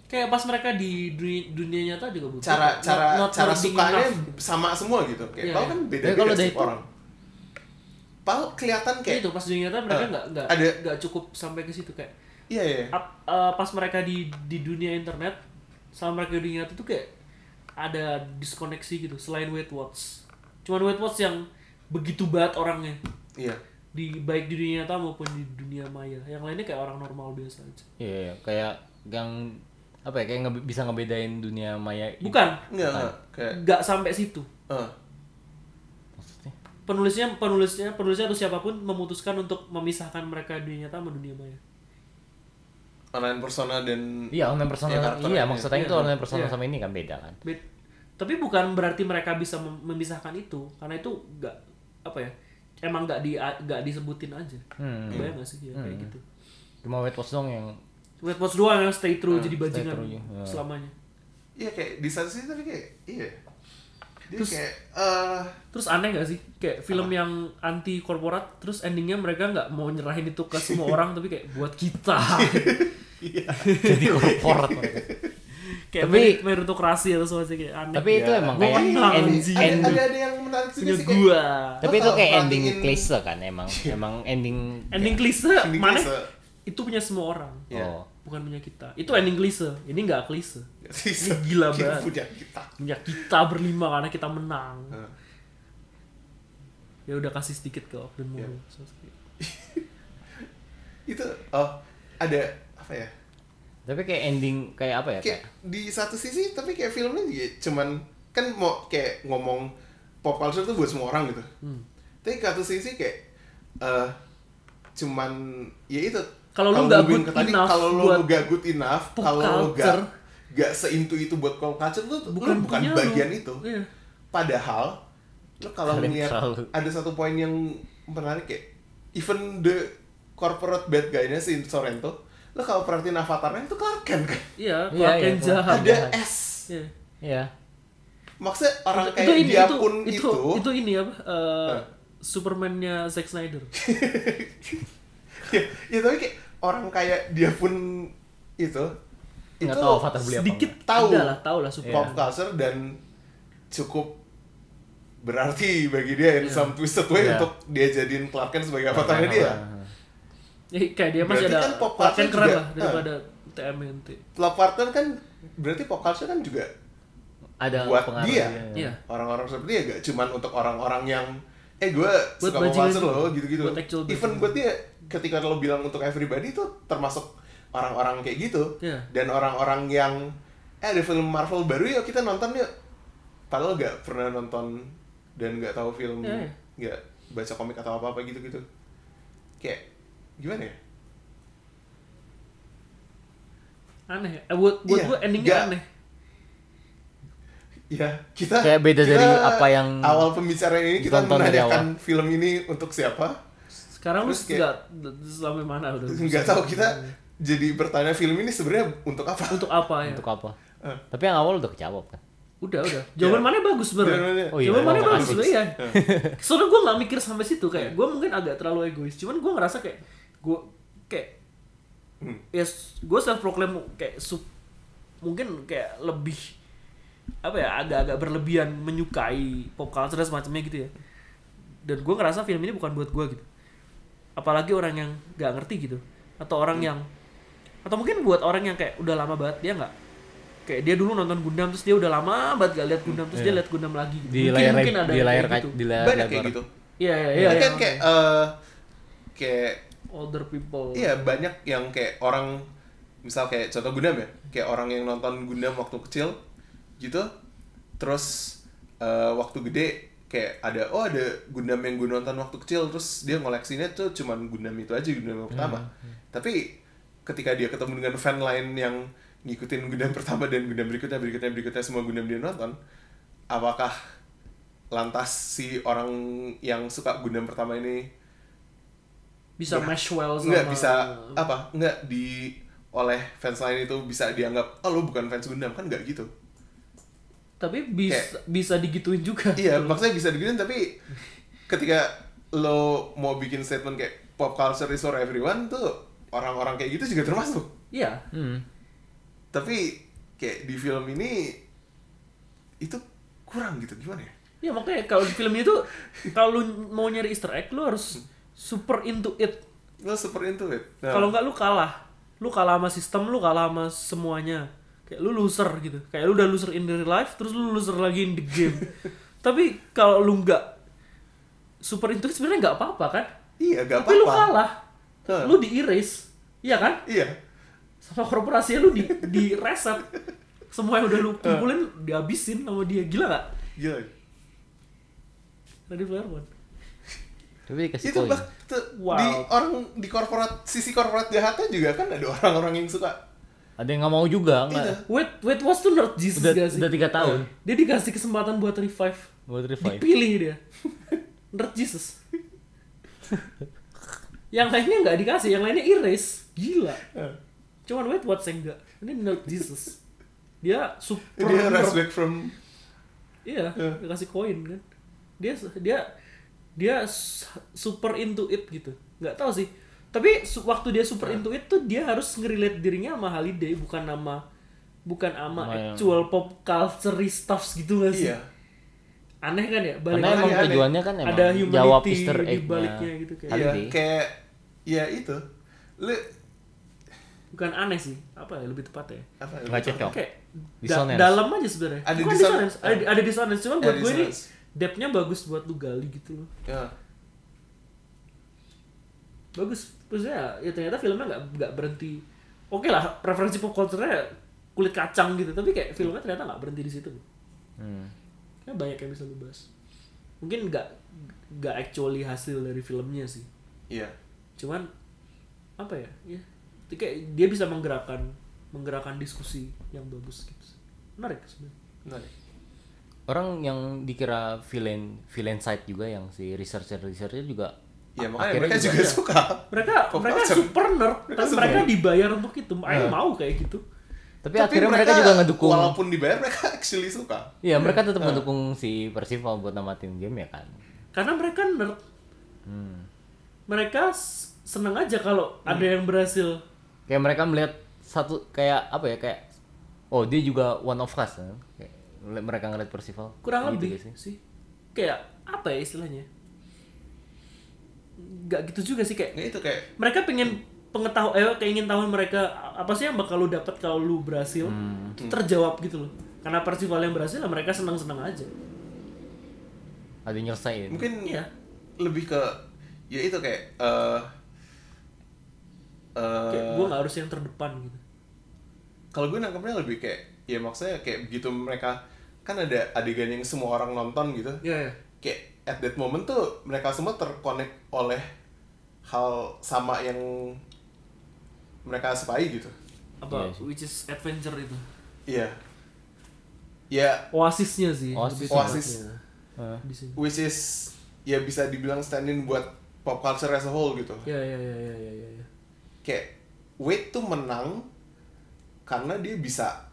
kayak pas mereka di dunia, dunia nyata juga butuh
cara
Not-
cara
not
cara
nerding
sukanya
enough.
sama semua gitu kayak
Iya,
Paul
iya.
kan beda
Tapi kalau
beda
dia
setiap
itu-
orang Paul kelihatan kayak
itu Gitu, pas dunia nyata mereka
Eh,
nggak nggak
ada-
nggak cukup sampai ke situ kayak
iya iya
ap- eh, pas mereka di di dunia internet sama mereka di dunia nyata tuh kayak ada diskoneksi gitu selain Weight Watch cuman Weight Watch yang begitu banget orangnya
iya
di baik di dunia nyata maupun di dunia maya yang lainnya kayak orang normal biasa aja
Iya, iya. kayak yang apa ya? Kayak nge- bisa ngebedain dunia maya. ini.
bukan
enggak enggak kayak
nggak sampai situ
eh,
Maksudnya?
penulisnya penulisnya penulisnya atau siapapun memutuskan untuk memisahkan mereka dunia nyata sama dunia maya
online persona dan
Iya, online personal.
Iya, karakter
iya,
ini.
maksudnya
Iya,
itu online personal
iya.
sama ini kan beda kan.
Bet. Tapi bukan berarti mereka bisa mem- memisahkan itu, karena itu nggak apa ya, emang nggak di nggak disebutin aja.
Hmm.
Bayang nggak sih ya, kayak gitu.
Cuma White Watch dong yang
Wait Watch doang yang stay true jadi bajingan
Hmm, true, ya.
selamanya.
iya kayak di satu sisi tapi kayak iya dia
Terus-
kayak eh
Terus aneh nggak sih, kayak film yang anti korporat, terus endingnya mereka nggak mau nyerahin itu ke semua orang, tapi kayak buat kita.
iya.
jadi korporat. mereka.
kayak
Tapi-
tapi, meritokrasi atau sesuatu kayak aneh.
Tapi itu
Ya.
emang
Gua
kayak
kenal,
end,
anjing.
ada,
end-
ada ada yang menarik juga
punya
sih kayak
gua.
tapi
Lo
itu
kalau
kayak ending
bandingin-
klise kan emang
Iya.
emang ending
Ending klise,
Ending
mana?
klise.
Itu punya semua orang,
Iya.
Oh.
bukan punya kita. Itu ending klise, ini nggak klise.
Sisa-
gila
kita
banget.
punya kita
punya kita berlima karena kita menang.
Heeh.
Ya udah kasih sedikit ke Ogden
Ya.
Moro. So, kayak,
itu oh ada apa ya
Tapi kayak ending kayak apa ya?
kayak
Kayak
di satu sisi tapi kayak filmnya juga cuman kan mau kayak ngomong pop culture tuh buat semua orang gitu
Hmm.
tapi ke satu sisi kayak eh cuman ya itu
Kalau lu
Kalau
nggak
ngomongin
good
ke tadi,
enough
kalau lu
buat
gak good enough
pop
kalau lu gak
culture.
gak seintu itu buat pop culture tuh bukan bukan
punya
bagian
lu.
itu
Iya.
padahal lu kalau
Kalian
ngeliat
terlalu.
ada satu poin yang menarik kayak even the corporate bad guy-nya si Sorrento lu kalau perhatiin avatarnya itu Clark Kent kan
Iya, Clark
Iya, iya,
Kent
Clark
jahat.
ada
jahat.
S
Iya.
Iya.
maksudnya orang kayak dia pun itu,
itu, itu ini apa? eh,
Hah?
Superman-nya Zack Snyder.
ya, ya, tapi kayak orang kayak dia pun itu
Nggak tahu avatar beli apa. Iya.
Sedikit
enggak? Tahu.
ada lah, tahu lah
pop
Superman.
culture dan cukup berarti bagi dia in some twisted way
Iya. gitu.
untuk dia jadiin Clark Kent sebagai avatarnya dia
Ya, kayak dia masih
Berarti
ada
kan pop
Clark Kent
culture
keren
juga,
lah daripada TMNT.
Love Partner kan berarti pop culture kan juga
Ada
Buat
pengaruh
dia.
Iya.
orang-orang seperti dia gak cuman untuk orang-orang yang eh gue
Buat
suka pop
bajingan.
culture loh gitu-gitu
Buat actual
even
bajingan.
buat dia ketika lo bilang untuk everybody itu termasuk orang-orang kayak gitu
Iya.
dan orang-orang yang eh ada film Marvel baru yuk kita nonton yuk padahal gak pernah nonton dan gak tahu film
Iya,
gak baca komik atau apa-apa gitu-gitu kayak gimana ya
Aneh. Eh, buat buat
Iya,
gua endingnya
nggak-
aneh.
Ya, kita
Kayak beda
kita
dari apa yang
awal pembicaraan ini kita
ditonton dari
menanyakan film ini untuk siapa?
Sekarang lu
Terus kayak-
nggak sampai mana udah.
Nggak tahu kita jadi bertanya film ini sebenarnya untuk apa?
untuk apa ya?
Untuk apa?
Eh.
Tapi yang awal udah kejawab kan.
Udah, udah. Jawaban
Iya.
mana bagus
Jawabannya-
sebenarnya.
Oh iya,
Jawaban mana
jawaban
bagus
bagus.
sebenarnya. Iya. Soalnya gue nggak mikir sampai situ
Iya.
kayak gue mungkin agak terlalu egois. Cuman gue ngerasa kayak gue kayak
Hmm.
ya gue self proclaim kayak sup- mungkin kayak lebih apa ya agak-agak berlebihan menyukai pop culture dan semacamnya gitu ya. Dan gue ngerasa film ini bukan buat gue gitu. Apalagi orang yang nggak ngerti gitu atau orang
Hmm.
yang atau mungkin buat orang yang kayak udah lama banget dia nggak kayak dia dulu nonton Gundam terus dia udah lama banget gak lihat Gundam terus dia
Iya.
lihat Gundam lagi gitu.
Di
mungkin
layar
mungkin ada
di
yang
layar
kayak
kaca
gitu.
di layar
Banyak
lebar.
kayak gitu.
Iya iya iya.
Iya, kan
iya.
kayak eh kayak
older people.
iya banyak yang kayak orang misal kayak contoh Gundam ya, kayak orang yang nonton Gundam waktu kecil gitu, terus eh, waktu gede kayak ada oh ada Gundam yang gue nonton waktu kecil terus dia ngoleksinya tuh cuman Gundam itu aja Gundam yang pertama. Tapi ketika dia ketemu dengan fan lain yang ngikutin Gundam pertama dan Gundam berikutnya berikutnya berikutnya semua Gundam dia nonton, apakah lantas si orang yang suka Gundam pertama ini Iya.
Bisa mesh well sama
nggak bisa apa nggak di oleh fans lain itu bisa dianggap oh lu bukan fans Gundam kan nggak gitu
tapi bisa bisa digituin juga
iya
Gitu loh.
maksudnya bisa digituin tapi ketika lo mau bikin statement kayak pop culture is for everyone tuh orang-orang kayak gitu juga termasuk
iya
Hmm.
tapi kayak di film ini itu kurang gitu gimana ya
iya makanya kalau di film itu kalau lu mau nyari Easter egg lu harus super into it
lo super into it Nah,
kalau nggak lu kalah lu kalah sama sistem lu kalah sama semuanya kayak lu loser gitu kayak lu udah loser in real life terus lu loser lagi in the game tapi kalau lu nggak super into it sebenarnya nggak apa-apa kan
iya gak
tapi lu
apa-apa
kalah
Hah.
lu diiris iya kan
iya
sama korporasi lu di di reset semua yang udah lu kumpulin dihabisin sama dia gila gak?
gila
Ready Player One
Tapi dikasih
itu
koin.
bak tuh,
Wow.
di orang di korporat sisi korporat jahatnya juga kan ada orang-orang yang suka
Ada yang nggak mau juga,
Iya.
nggak?
Wait, wait, was to not Jesus
Udah,
gak sih? Iya.
udah tiga tahun.
Dia dikasih kesempatan buat revive
Buat revive.
Dipilih dia Nerd Jesus Yang lainnya nggak dikasih, yang lainnya erase Gila Cuman wait, what's yang enggak? Ini Nerd Jesus Dia super
dia
nerd.
respect from
Iya,
Iya.
dikasih koin kan. Dia dia dia s- super into it gitu. Nggak tahu sih. Tapi su- waktu dia
Nah.
super into it tuh dia harus ngerelate dirinya sama holiday bukan nama bukan sama
Sama yang-
actual pop culture stuffs gitu nggak sih?
iya
Aneh kan ya? Balik
Makanya
Karena
lagi
emang
aneh.
tujuannya kan emang
ada
jawab
humanity
Easter
di
egg-nya.
baliknya gitu kayak.
Holiday.
iya kayak ya itu lu
Bukan aneh sih. Apa ya lebih tepatnya?
apa ya?
Nggak cocok.
Kayak da
Dissonance.
dalam aja sebenarnya.
Ada
Bukan
disson-
dissonance. Ada, ada dissonance cuman
Ada
buat gue ini
dissonance.
depth-nya bagus buat lu gali gitu loh.
ya
bagus maksudnya ya ternyata filmnya nggak nggak berhenti oke lah preferensi pop culture-nya kulit kacang gitu tapi kayak filmnya ternyata nggak berhenti di situ
Hmm.
Kayaknya banyak yang bisa lu bahas mungkin nggak nggak actually hasil dari filmnya sih
iya
cuman apa ya ya itu kayak dia bisa menggerakkan menggerakkan diskusi yang bagus gitu sih. menarik sebenarnya
menarik
Orang yang dikira villain villain side juga yang si researcher researcher juga
ya makanya
Ah, akhirnya
mereka juga, suka
mereka
Pop
mereka
culture.
super nerd
Mereka
tapi
super
mereka
nerd. Nah.
dibayar untuk itu ayo mau kayak gitu
Tapi, akhirnya mereka, juga ngedukung.
walaupun dibayar mereka actually suka
Iya, mereka tetap
Hmm.
ngedukung si Percival buat namatin game ya kan.
karena mereka nerd
Hmm.
mereka s- seneng aja kalau ada yang berhasil
Kayak mereka melihat satu kayak apa ya kayak oh dia juga one of us kan. Kayak ngeliat- mereka ngeliat Percival.
kurang lebih
Gitu gak sih.
sih kayak apa ya istilahnya nggak gitu juga sih kayak
ya itu kayak
mereka pengen pengetahuan eh keingin tahuan mereka a- apa sih yang bakal lu dapat kalau lu berhasil
Hmm.
Itu terjawab gitu loh karena Percival yang berhasil ya mereka senang senang aja
Ada yang nyelesain.
mungkin
Iya.
lebih ke ya itu kayak eh eh,
kayak gue nggak harus yang terdepan gitu
kalau gue nangkepnya lebih kayak ya maksudnya kayak begitu mereka kan ada adegan yang semua orang nonton gitu
ya, ya.
kayak at that moment tuh mereka semua terkonek oleh hal sama yang mereka sepai gitu
apa
Iya sih.
which is adventure itu
iya ya
oasisnya sih
Oasis.
lebih tepatnya
Oasis.
Heeh.
di sini
which is ya bisa dibilang stand in buat pop culture as a whole gitu
ya ya ya ya ya ya, ya.
kayak Wade tuh menang karena dia bisa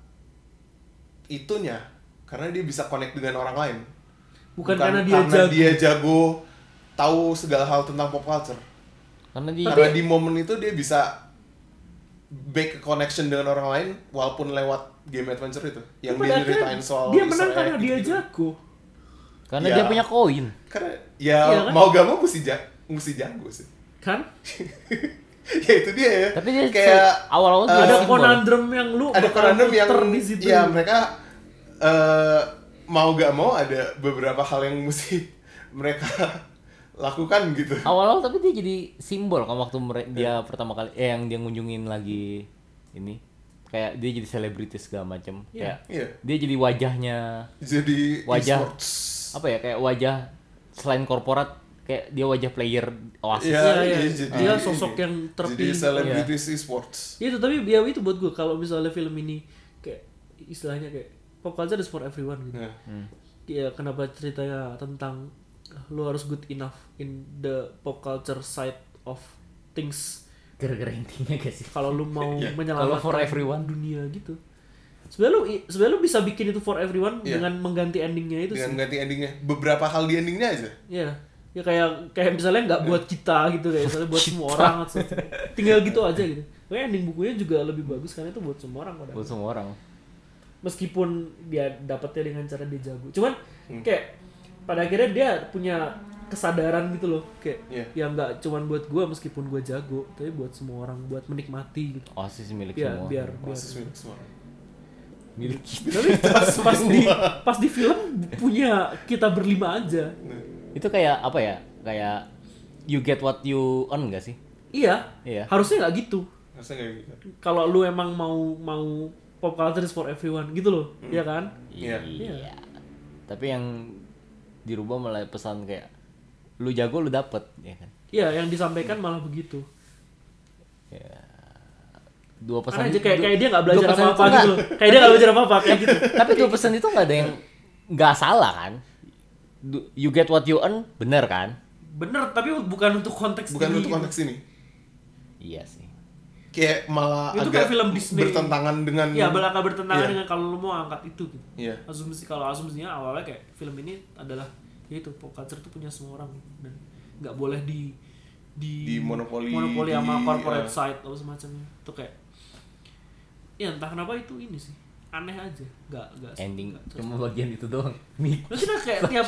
itunya karena dia bisa connect dengan orang lain
Bukan karena dia jago.
dia jago tahu segala hal tentang pop culture
Karena
Iya.
dia
karena di momen itu dia bisa make a connection dengan orang lain walaupun lewat game adventure itu yang
Tapi
dia
pada akhirnya
ceritain soal gitu.
dia
Easter
menang
egg
karena dia
gitu-gitu.
jago
karena
Iya.
dia punya koin.
karena
Iya
ya
kan?
mau gak mau mesti ja mesti jago sih
kan
ya itu dia ya
Tapi dia
kayak
awal-awal
eh,
ada
simbol.
konandrum yang lu
ada
bakal
konandrum yang
muter di situ
ya mereka eh, mau gak mau ada beberapa hal yang mesti mereka lakukan gitu
awal-awal tapi dia jadi simbol kan waktu mere-
Iya.
dia pertama kali eh, yang dia ngunjungin lagi ini kayak dia jadi selebritis segala macem
Iya.
kayak
Iya.
dia jadi wajahnya
jadi
Wajah.
esports.
apa ya kayak wajah selain korporat kayak dia wajah player oasis
ya,
Iya, iya.
iya, jadi
Dia sosok yang
jadi
terpilih.
selebritis esports
Ya itu tapi ya itu buat gue kalau misalnya film ini kayak istilahnya kayak pop culture is for everyone gitu
Nah,
Hmm.
ya kenapa ceritanya tentang lu harus good enough in the pop culture side of things
gara-gara intinya gak sih
kalau lu mau
Iya.
menyelamatkan
Kalau for everyone.
dunia gitu sebenarnya lu sebenarnya lu bisa bikin itu for everyone
Iya.
dengan mengganti endingnya itu sih
dengan ganti endingnya beberapa hal di endingnya aja
ya ya kayak kayak misalnya nggak buat kita gitu kayak misalnya buat semua orang atau sesuatu. tinggal gitu aja gitu kayak ending bukunya juga lebih bagus karena itu buat semua orang pada
buat semua orang
meskipun dia dapatnya dengan cara dia jago cuman kayak pada akhirnya dia punya kesadaran gitu loh kayak
Iya.
yang nggak cuman buat gua meskipun gua jago tapi buat semua orang buat menikmati gitu
osis milik
ya
semua
biar biar
Proses milik semua orang.
milik kita.
tapi pas di pas di film punya kita berlima aja
Nah,
itu kayak apa ya kayak you get what you earn gak sih
iya
Iya.
harusnya nggak gitu
Rasanya kayak gitu.
kalau lu emang mau mau pop culture is for everyone gitu loh Iya kan
Iya.
Iya.
tapi yang dirubah malah pesan kayak lu jago lu dapet ya kan
iya yang disampaikan malah begitu
ya dua
Karena
pesan
aja
itu-
kayak,
dua-
kayak dia nggak
dua
belajar
pesan
apa-apa
itu-
gitu loh. Kayak dia nggak belajar apa-apa kayak gitu.
tapi dua pesan itu nggak ada yang nggak salah kan Du- you get what you earn bener kan
Bener, tapi bukan untuk konteks
bukan
ini.
untuk konteks ini
iya sih
kayak malah
Itu kan
agak
film Disney.
bertentangan dengan
Iya, belakang bertentangan
Iya.
dengan kalau lu mau angkat itu gitu.
Iya.
Asumsi kalau asumsinya awalnya kayak film ini adalah ya itu pop culture tuh punya semua orang dan nggak boleh di di,
Dimonopoli,
monopoli sama
di-
corporate
ah.
side atau semacamnya. Itu kayak ya entah kenapa itu ini sih aneh aja nggak nggak
ending
nggak cocok.
cuma bagian itu doang nih
Terus kita kayak tiap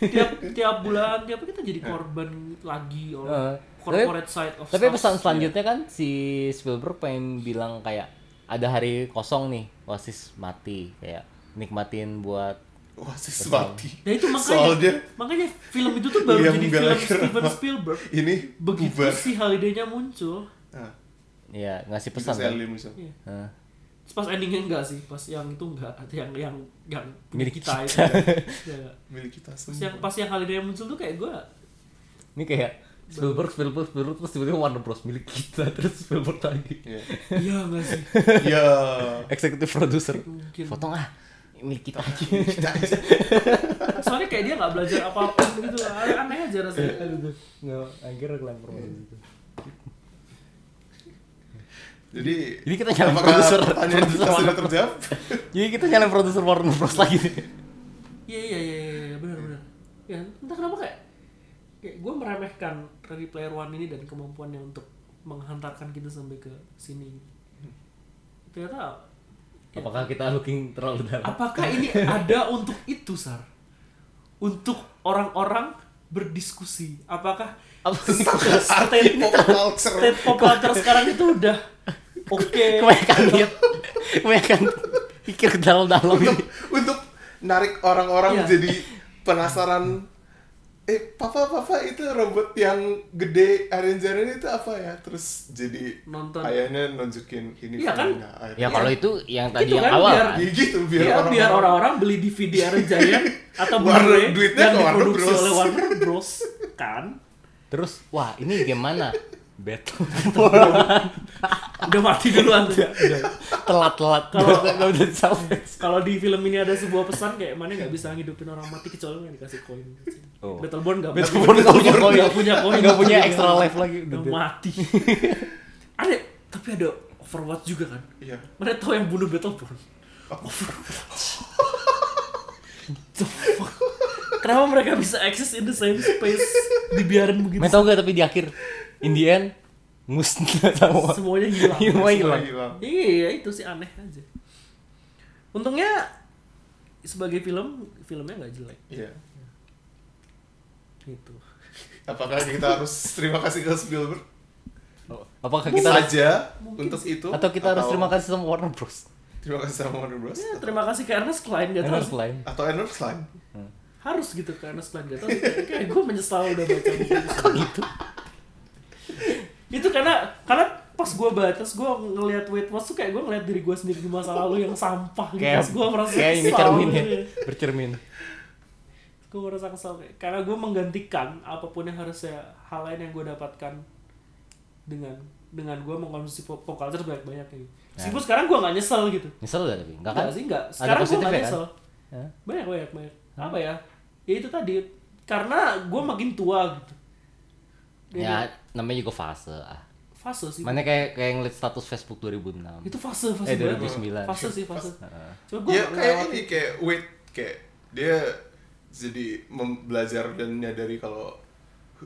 tiap tiap bulan tiap kita jadi korban lagi oleh
Eh,
corporate side of
tapi pesan
stuff. Iya.
selanjutnya kan si Spielberg pengen bilang kayak ada hari kosong nih wasis mati kayak nikmatin buat
wah sis mati
Nah itu makanya
soalnya
makanya film itu tuh baru
William
jadi
Gallagher
film Steven
sama-
Spielberg
ini
begitu
bubar.
si Halidaynya muncel.
nah,
ya ngasih
itu
pesan
saya
kan?
lihat misalnya.
Iya.
Hah.
Terus Pas endingnya enggak sih, pas yang itu enggak, yang yang yang punya
Milik
kita, itu.
kita.
Ya.
milik kita
Terus
semua
yang pas yang Halidaynya muncul tuh kayak gue
ini kayak Spielberg Spielberg Spielberg terus tiba-tiba Warner Bros milik kita terus Spielberg lagi
Iya.
iya enggak sih
ya
eksekutif produser
Mungkin.
potong ah milik kita aja
kita aja
soalnya kayak dia nggak belajar apapun gitu aneh, aneh aja rasanya
Iya, nggak akhirnya kelempar itu
jadi
Jadi kita nyalain
apakah
produser.
pertanyaan kita
Produser mana?
sudah terjawab
jadi kita nyalain produser Warner Bros lagi nih
Iya iya iya iya, iya benar benar. Ya entah kenapa kayak kayak gue meremehkan Ready Player One ini dan kemampuannya untuk menghantarkan kita sampai ke sini.
Hmm.
Ternyata
apakah kita looking terlalu dalam
apakah ini ada untuk itu sar? Untuk orang-orang berdiskusi. Apakah
apa
arti pop culture
state pop culture sekarang itu udah oke?
kebanyakan lihat kebanyakan pikir ke dalam-dalam
untuk
ini
untuk narik orang-orang
Iya.
jadi penasaran eh papa papa itu robot yang gede aranjaran itu apa ya terus jadi
Nonton.
ayahnya nunjukin ini
Iya kan?
filmnya, akhirnya.
ya kalau itu yang tadi
Gitu
yang
kan,
awal
biar-
kan?
Ya gitu biar
Iya,
orang
biar orang-orang beli DVD Iron Giant atau
Warner-
Blu-ray
duitnya
yang
ke Warner
diproduksi
Bros.
oleh Warner Bros kan
terus wah ini gimana battle bola
udah mati duluan tuh.
Iya. telat-telat
Kalau-
nggak udah sampai
Kalau di film ini ada sebuah pesan kayak mana nggak bisa ngidupin orang mati kecuali yang dikasih koin.
Oh.
Battleborn nggak
Battleborn nggak punya koin.
nggak punya koin,
Nggak punya
Iya.
extra life lagi, udah
Udah
dead.
mati. ada tapi ada Overwatch juga kan.
Iya.
Mana tahu yang bunuh Battleborn? Overwatch. The fuck? Kenapa mereka bisa access in the same space dibiarin begitu?
Main tau gak tapi di akhir in the end musnah semua.
Semuanya hilang.
Semua
Semua
hilang.
hilang.
Iya itu sih aneh aja. Untungnya sebagai film filmnya nggak jelek
Iya.
gitu.
Apakah kita harus terima kasih ke Spielberg
Apakah
kita
kita harus-
saja
mungkin
untuk itu
atau kita harus terima kasih sama Warner Bros.
terima kasih sama Warner Bros
Ya, terima kasih ke Ernest Klein gak
Harus
tau
lain.
atau Endor Slime
harus gitu ke Ernest Klein gak tau sih. kayak, kayak gue menyesal udah baca buku itu.
Gitu.
itu karena karena pas gue baca terus gue ngelihat Wade Watts tuh kayak gue ngelihat diri gue sendiri di masa lalu yang sampah gitu
Kayak
terus gue merasa
kayak ini
kesal
cermin ya.
gitu ya.
Bercermin.
gue merasa kesal kayak- karena gue menggantikan apapun yang harusnya hal lain yang gue dapatkan dengan dengan gue mengkonsumsi pop, pop culture banyak banyak gitu. Meskipun sekarang gue nggak nyesel gitu.
Nyesel gak tapi? Enggak Nah. kan?
Enggak sih enggak.
Ada
Sekarang gue nggak Iya,
positifnya kan?
nyesel.
Hah?
Banyak banyak banyak. Apa ya? Ya itu tadi karena gue makin tua gitu.
Ya namanya juga fase ah.
fase sih
Mana kayak kayak ngeliat status Facebook 2006.
itu fase fase
Eh,
banget.
2009.
fase sih fase
Heeh.
cuma gue
ya kayak ini kayak wait kayak dia jadi mem- belajar dan menyadari kalau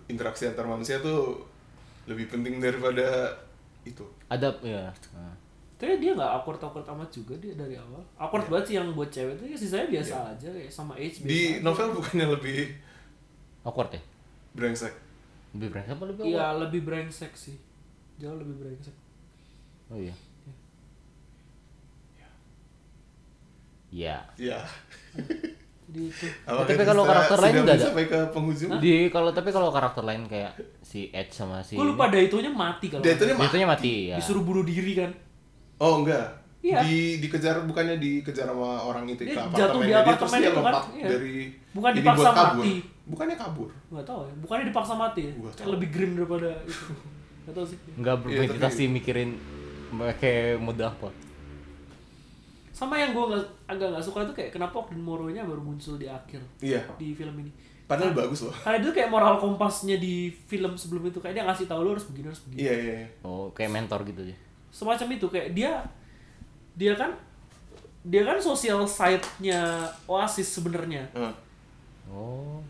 interaksi antar manusia tuh lebih penting daripada itu
Ada ya. heeh.
tapi dia nggak awkward awkward amat juga dia dari awal awkward banget sih yang buat cewek itu ya sisanya biasa aja kayak sama age
di
biasa.
novel bukannya lebih
Awkward ya?
brengsek
Lebih brengsek apa lebih awkward?
Iya lebih brengsek sih jauh lebih brengsek
Oh iya. Iya.
ya
jadi itu
Apakah
tapi kalau
kita
karakter lain
sudah
nggak ada?
sampai ke penghujung
Di kalau tapi kalau karakter lain kayak si Edge sama si
gue lupa daitunya mati kalau
dia itu
nggak
mah
Ditunya mati
salah.
ya.
disuruh bunuh diri kan
oh enggak
Iya.
di dikejar bukannya dikejar sama orang itu
Dia
ke
jatuh di
apartemennya dia, terus
apartemen
dia
itu kan,
lompat
iya.
dari
Bukan
jadi
dipaksa
buat kabur.
mati.
bukannya kabur
nggak tahu ya bukannya dipaksa mati ya
Nggak tahu.
Kayak lebih grim daripada itu nggak tahu sih
Enggak bermeditasi
tapi-
mikirin pakai mode apa.
sama yang gue agak nggak suka itu kayak kenapa Ogden Moro-nya baru muncul di akhir
iya
di film ini
padahal bagus loh
karena itu kayak moral kompasnya di film sebelum itu kayak dia ngasih tahu lo harus begini harus begini
iya iya iya.
Oh, kayak mentor gitu ya.
semacam itu kayak dia dia kan dia kan sosial side-nya Oasis sebenarnya
Heeh.
Oh.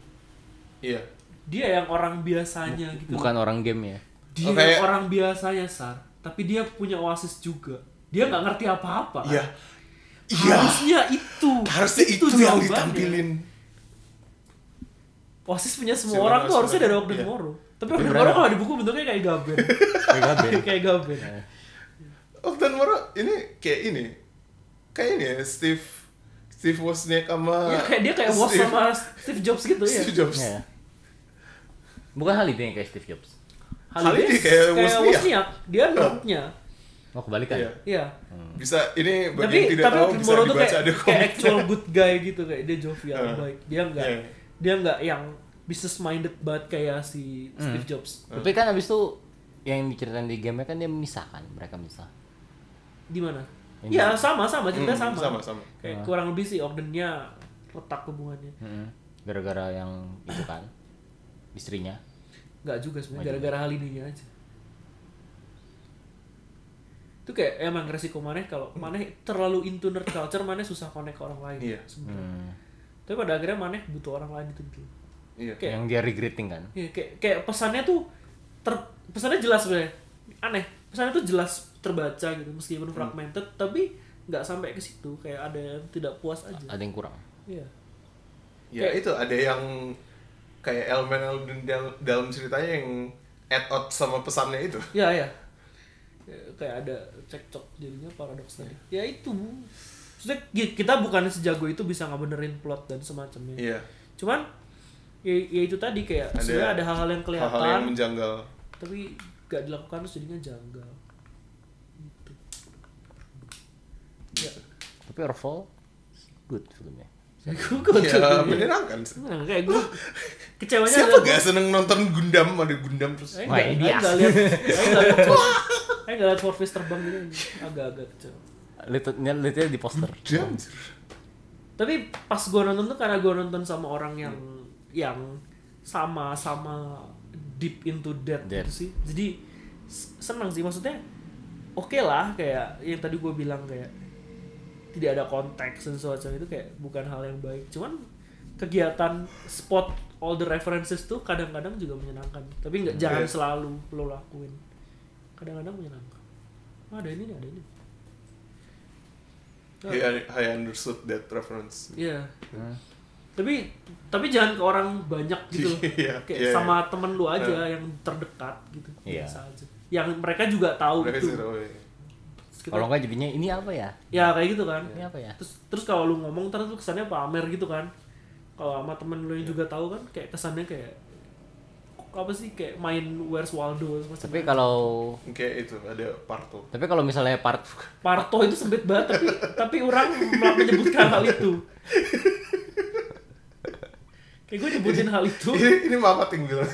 iya
dia yang orang biasanya gitu
Bukan orang game ya.
dia
Oh, kayak-
orang biasanya sar tapi dia punya Oasis juga dia nggak ngerti apa-apa kan?
iya iya
harusnya itu
harusnya itu, yang
jawabannya.
ditampilin
Oasis punya semua
Silakan
orang tuh
masuk
harusnya
aja.
dari Ogden
Iya.
Moro tapi Ogden Moro kalau di buku bentuknya kayak gaben
Kayak gaben.
kayak gaben
Iya. Ogden Oh, Moro ini kayak ini kayak ini ya Steve Steve Wozniak sama
ya, kayak dia kayak Woz
Steve-
sama Steve Jobs gitu ya
Steve Jobs
Ya. Bukan Haliday yang kayak Steve Jobs.
Haliday kayak Wozniak.
dia nerdnya
Oh, kebalikan.
Iya.
iya
bisa ini bagi yang
tapi
tidak
tapi
tahu
Ogden
bisa
Moro tuh
dibaca
kayak,
ada
kayak
komik
actual good guy gitu kayak dia jovial
Eh.
baik dia nggak
Iya.
dia nggak yang business minded banget kayak si Steve
Hmm.
Jobs
Tapi kan abis itu yang diceritain di game kan dia memisahkan, mereka misah.
di mana?
Yang
Ya sama sama cerita
Hmm,
sama.
sama, sama.
Kayak kurang lebih sih Ogdennya letak hubungannya.
Gara-gara yang itu kan istrinya.
Enggak juga sebenarnya gara-gara hal ininya aja. Itu kayak emang resiko maneh kalau maneh terlalu into nerd culture maneh susah connect ke orang lain.
Iya.
Hmm.
sebenarnya. Tapi pada akhirnya maneh butuh orang lain itu dulu.
iya
Kayak-
Yang dia regretting kan.
Iya, kayak kayak pesannya tuh ter pesannya jelas sebenarnya. Aneh. Pesannya tuh jelas terbaca gitu meskipun fragmented tapi nggak sampai ke situ kayak ada yang tidak puas aja.
Ada yang kurang.
Iya.
ya itu ada yang kayak elemen elemen dal- dalam ceritanya yang add out sama pesannya itu
Ya ya. Ya, Kayak ada cekcok jadinya paradoks tadi.
Iya.
Ya itu. Maksudnya ki- kita bukan sejago itu bisa ngebenerin plot dan semacamnya.
iya
Cuman ya, ya itu tadi kayak
Ada
sebenarnya ada hal-hal yang kelihatan
hal-hal yang menjanggal
tapi gak dilakukan terus jadinya janggal. Gitu. Ya.
Tapi overall good filmnya.
Gue kocok
ya
ini.
menyenangkan
Nah, kayak gue kecewanya
siapa
adalah-
gak seneng nonton Gundam ada Gundam terus
Saya
Wah,
nggak-
ini
saya nggak
asli.
lihat, saya nggak lihat, Four- saya nggak lihat Four Face terbang gitu, agak-agak kecewa.
Lihatnya lihatnya di poster.
Gundam anjir.
tapi pas gue nonton tuh karena gue nonton sama orang yang yang sama-sama deep into death
Death.
gitu sih jadi s- seneng sih maksudnya oke lah kayak yang tadi gue bilang kayak tidak ada konteks dan semacam itu kayak bukan hal yang baik cuman kegiatan spot all the references tuh kadang-kadang juga menyenangkan tapi nggak jangan
Yes.
selalu lo lakuin kadang-kadang menyenangkan Ah, ada ini nih, ada ini
Hey, I, I understood that reference
Iya.
Hmm.
Tapi tapi jangan ke orang banyak gitu loh.
Iya,
Kayak
iya, Nah.
sama temen lu aja yang terdekat gitu.
Iya.
Biasa aja. Yang mereka juga tahu
mereka
gitu.
sih tahu ya.
Terus kita-
Kalau nggak jadinya ini apa ya?
ya kayak gitu kan.
Ini apa ya?
Terus terus kalau lu ngomong ntar tuh kesannya pamer gitu kan. Kalau sama temen lu yang
Iya.
juga tahu kan kayak kesannya kayak kok apa sih kayak main Where's Waldo kan. semacam
Tapi
itu.
kalau
kayak itu ada parto
tapi kalau misalnya part
Parto itu sempit banget tapi tapi orang malah menyebutkan hal itu. Kayak gue nyebutin hal itu,
ini, ini mama ting bilang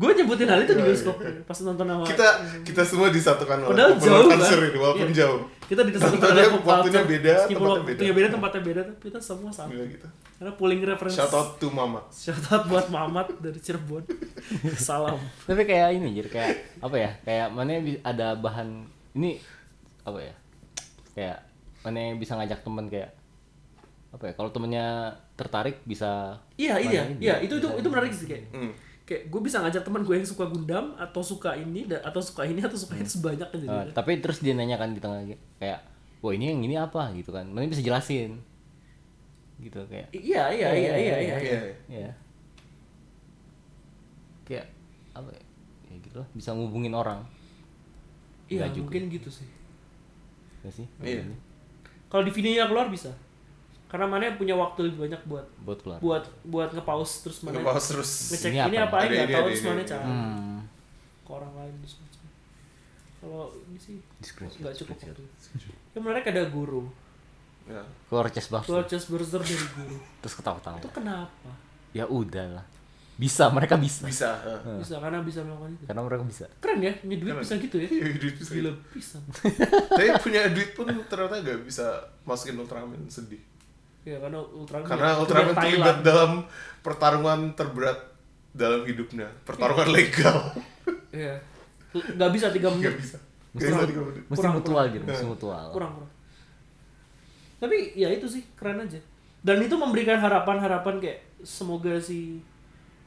gue nyebutin hal itu di bioskop pas nonton sama
Iya, kita kita semua disatukan oleh
Oh, iya. Padahal
popular
jauh, kan?
culture ini walaupun
Iya.
jauh
kita disatukan
Nontonnya
oleh pop
waktunya
culture.
beda,
Meskipun
tempatnya
waktunya
beda.
iya, beda, tempatnya beda, tapi kita semua sama.
Gila gitu
Karena pulling reference.
shout out to mama
Shout out buat Mamat dari Cirebon. Salam.
tapi kayak ini jadi kayak apa ya kayak mana bi- ada bahan ini apa ya kayak mana bisa ngajak temen kayak apa ya kalau temennya tertarik bisa
Iya iya
mainin
iya
dia.
itu itu itu menarik sih kayak.
Hmm.
Kayak gue bisa ngajak teman gue yang suka Gundam atau suka ini da- atau suka ini atau suka itu
Hmm.
sebanyak aja. gitu.
Eh, tapi terus dia nanya kan di tengah kayak wah ini yang ini apa gitu kan mana bisa jelasin gitu kayak
Iya iya iya iya iya. iya.
Iya, iya.
ya kayak apa ya, ya gitu lah bisa ngubungin orang
Iya
Nggak juga.
mungkin gitu sih.
gak ya sih
Iya.
Kalau di videonya keluar bisa. Karena mana punya waktu lebih banyak buat
buat keluar
buat buat nge-pause terus mana
ngepaus terus
ngecek
Ini
ini,
apa?
apa
Ada
nggak
ini,
tahu
ada
terus
ini,
mana
ada
cara
hmm.
ke orang lain terus macam. Kalau ini sih
Discretion,
nggak cukup waktu. Yang menarik ada guru.
Ya.
keluar chestbuster
Keluar chest burster dari guru.
terus ketawa-ketawa
Itu kenapa?
ya udahlah bisa mereka bisa
bisa eh.
Bisa karena bisa melakukan itu.
karena mereka bisa
Keren ya, punya duit
Keren.
bisa gitu ya.
Iya, duit bisa
Gila
gitu.
pisan.
tapi punya duit pun ternyata gak bisa masukin Ultraman sedih
Ya karena Ultraman.
karena
punya
Ultraman
Thailand.
terlibat dalam pertarungan terberat dalam hidupnya pertarungan legal
Iya. Nggak bisa 3 menit.
nggak bisa nggak bisa dikomenin.
mesti
Kurang,
mutual
kurang.
gitu mesti mutual
Kurang kurang. Tapi ya itu sih keren aja. Dan itu memberikan harapan-harapan kayak semoga si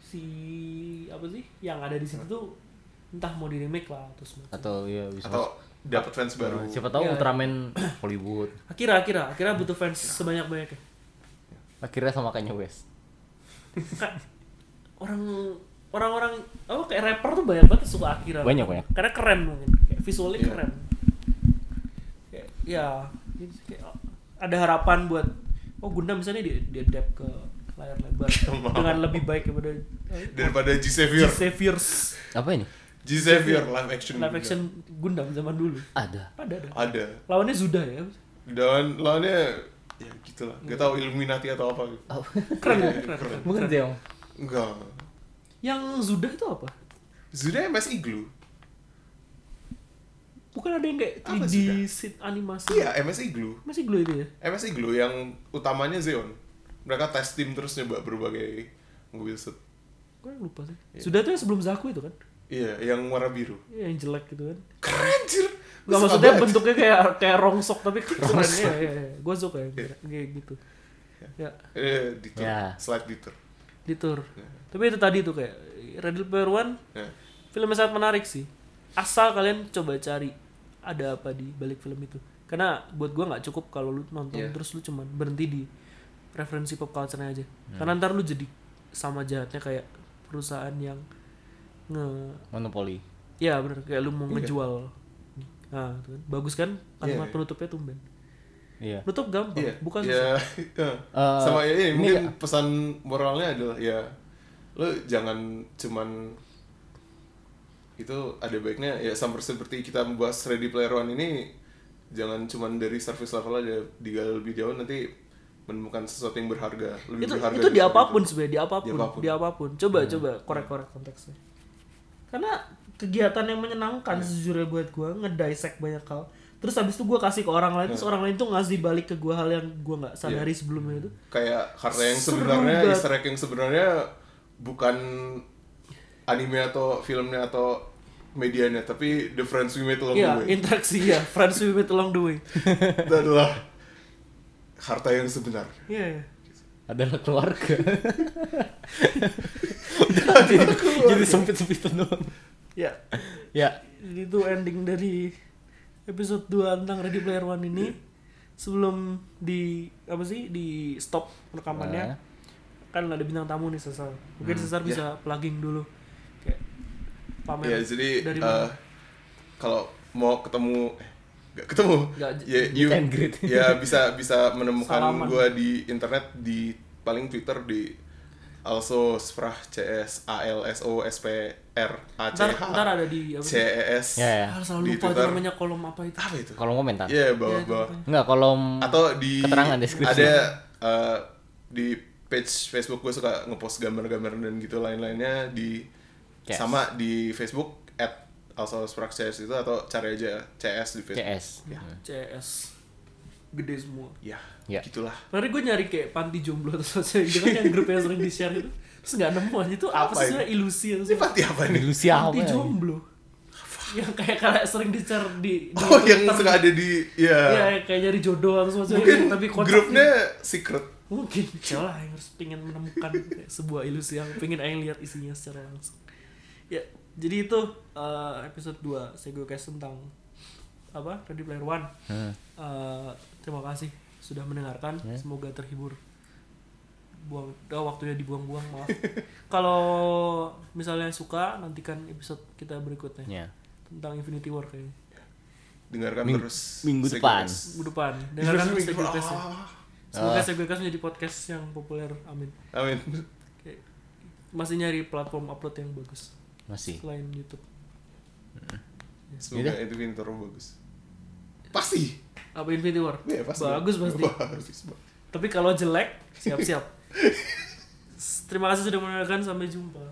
si apa sih yang ada di situ tuh entah mau di remake lah terus macam.
atau ya bisa Nah,
atau dapat fans baru
siapa tahu
Iya.
Ultraman Hollywood
Akira Akira Akira butuh fans sebanyak banyaknya.
akhirnya sama Kanye West
Orang orang-orang apa kayak rapper tuh banyak banget yang suka Akira.
Banyak, banyak.
Karena keren mungkin. Kayak visualnya
Iya.
keren. Kayak, ya gitu sih, kayak, ada harapan buat oh Gundam misalnya di di adapt ke layar lebar
mau.
dengan lebih baik daripada eh,
daripada G
G
Savior
Saviors
apa ini
G Savior live action
live action Gundam zaman dulu.
ada
Ada ada.
ada
Lawannya Zuda ya.
dan lawannya ya gitulah nggak tahu Illuminati atau apa gitu
Keren ya, keren. keren.
bukan Zeong
enggak
Yang Zuda itu apa?
Zuda MS Igloo
Bukan ada yang kayak
Apa
3D sit animasi.
iya MS Igloo
Masih glue itu ya?
MS Igloo yang utamanya Zeon mereka test team terus nyoba berbagai mobil set
Gue lupa sih. Sudah tuh yang sebelum Zaku itu kan?
iya yang warna biru
Ya, Yang jelek gitu kan?
keren jir
Gak
Suka
maksudnya
banget.
bentuknya kayak kayak rongsok tapi keren ya, ya, ya. Gue suka ya, kayak gitu. Ya,
eh detour
Ya.
slide detour
di tour. Tapi itu tadi tuh kayak Ready Player One,
ya.
filmnya sangat menarik sih. Asal kalian coba cari ada apa di balik film itu. Karena buat gua nggak cukup kalau lu nonton terus lu cuman berhenti di referensi pop culture-nya aja. Karena ntar lu jadi sama jahatnya kayak perusahaan yang nge
monopoli
Ya bener, kayak lu mau
Iya.
ngejual. Nah, gitu kan. Bagus kan kalimat penutupnya tumben.
iya
Penutup gampang,
Iya.
bukan
Iya.
susah.
Iya.
Eh,
sama ya,
ini
mungkin pesan moralnya adalah ya lo jangan cuman itu ada baiknya ya sama seperti kita membahas Ready Player One ini jangan cuman dari service level aja digali lebih jauh nanti menemukan sesuatu yang berharga lebih
Itu
berharga
itu di
daripada Iya.
apapun
itu.
sebenarnya, di apapun,
Di apapun.
di apapun. Coba coba korek-korek konteksnya. Karena kegiatan yang menyenangkan
Iya.
sejujurnya buat gua ngedisek banyak hal. Terus habis itu gua kasih ke orang lain,
Iya.
terus orang lain tuh ngasih balik ke gua hal yang gua nggak sadari sebelumnya itu.
kayak harta yang
Seru
sebenarnya
banget.
Easter egg yang sebenarnya bukan anime atau filmnya atau medianya tapi the friends we made along the
Iya,
way
interaksi ya, friends we met along the way.
itu adalah harta yang sebenarnya.
Iya, iya.
adalah keluarga Udah, jadi, jadi sempit-sempitan doang
Ya,
ya
itu ending dari episode 2 tentang Ready Player One ini sebelum di apa sih di stop rekamannya
Nah.
kan ada bintang tamu nih Sesar mungkin Sesar bisa plugging dulu kayak pamer
Ya jadi
dari
eh,
mana
kalau mau ketemu eh, nggak ketemu
Nggak,
ya
meet
you
and greet.
ya bisa bisa menemukan
Salaman.
gue di internet di paling Twitter di also sprah cs a l s o s p r a c
ntar,
h
ntar ada di apa sih?
c e s
Ya, ya.
Ah, selalu
di
lupa itu
Twitter.
namanya kolom apa itu
apa itu
kolom komentar
ya
Ya,
bawah
itu
bawah
apa?
Enggak, kolom
atau di
Keterangan, deskripsi.
ada eh, di page Facebook gue suka ngepost gambar-gambar dan gitu lain-lainnya di
Yes.
sama di Facebook at alsauspraxis itu atau cari aja CS di Facebook.
CS.
Ya. CS gede semua
Ya,
Ya.
gitulah.
Kemarin gue nyari kayak panti jomblo atau sosial media kan yang grupnya sering di share itu terus nggak nemu aja itu apa
Apa
sih
itu?
sebenarnya ilusi yang
Ini pati apa nih?
Ilusi apa?
panti
ya?
jomblo yang kayak kayak sering di share di, di
Oh, yang
Twitter.
suka ada di ya.
ya kayak nyari jodoh atau semacam
Mungkin
itu tapi kocak sih.
grupnya secret.
mungkin celah yang harus pengen menemukan kayak sebuah ilusi yang pengen Aing lihat isinya secara langsung ya jadi itu eh, episode 2 saya gue kasih tentang apa Ready Player One
Hmm.
Eh, terima kasih sudah mendengarkan
Ya.
semoga terhibur buang oh, waktunya dibuang-buang maaf kalau misalnya suka nantikan episode kita berikutnya
Ya.
tentang Infinity War kayaknya
Dengarkan
Ming-
terus.
minggu
Secret
depan.
Guys.
minggu depan dengarkan
Dengarkan minggu
Sego
depan.
Cast ya.
Ah,
semoga
Ah.
Sego Cast menjadi podcast yang populer amin
Amin.
Kayak masih nyari platform upload yang bagus
Masih.
selain YouTube.
Semoga itu pinter bagus. Pasti.
Apa Infinity War?
Iya, pasti.
Bagus pasti.
Bagus.
Tapi kalau jelek, siap-siap. S- Terima kasih sudah menonton, sampai jumpa.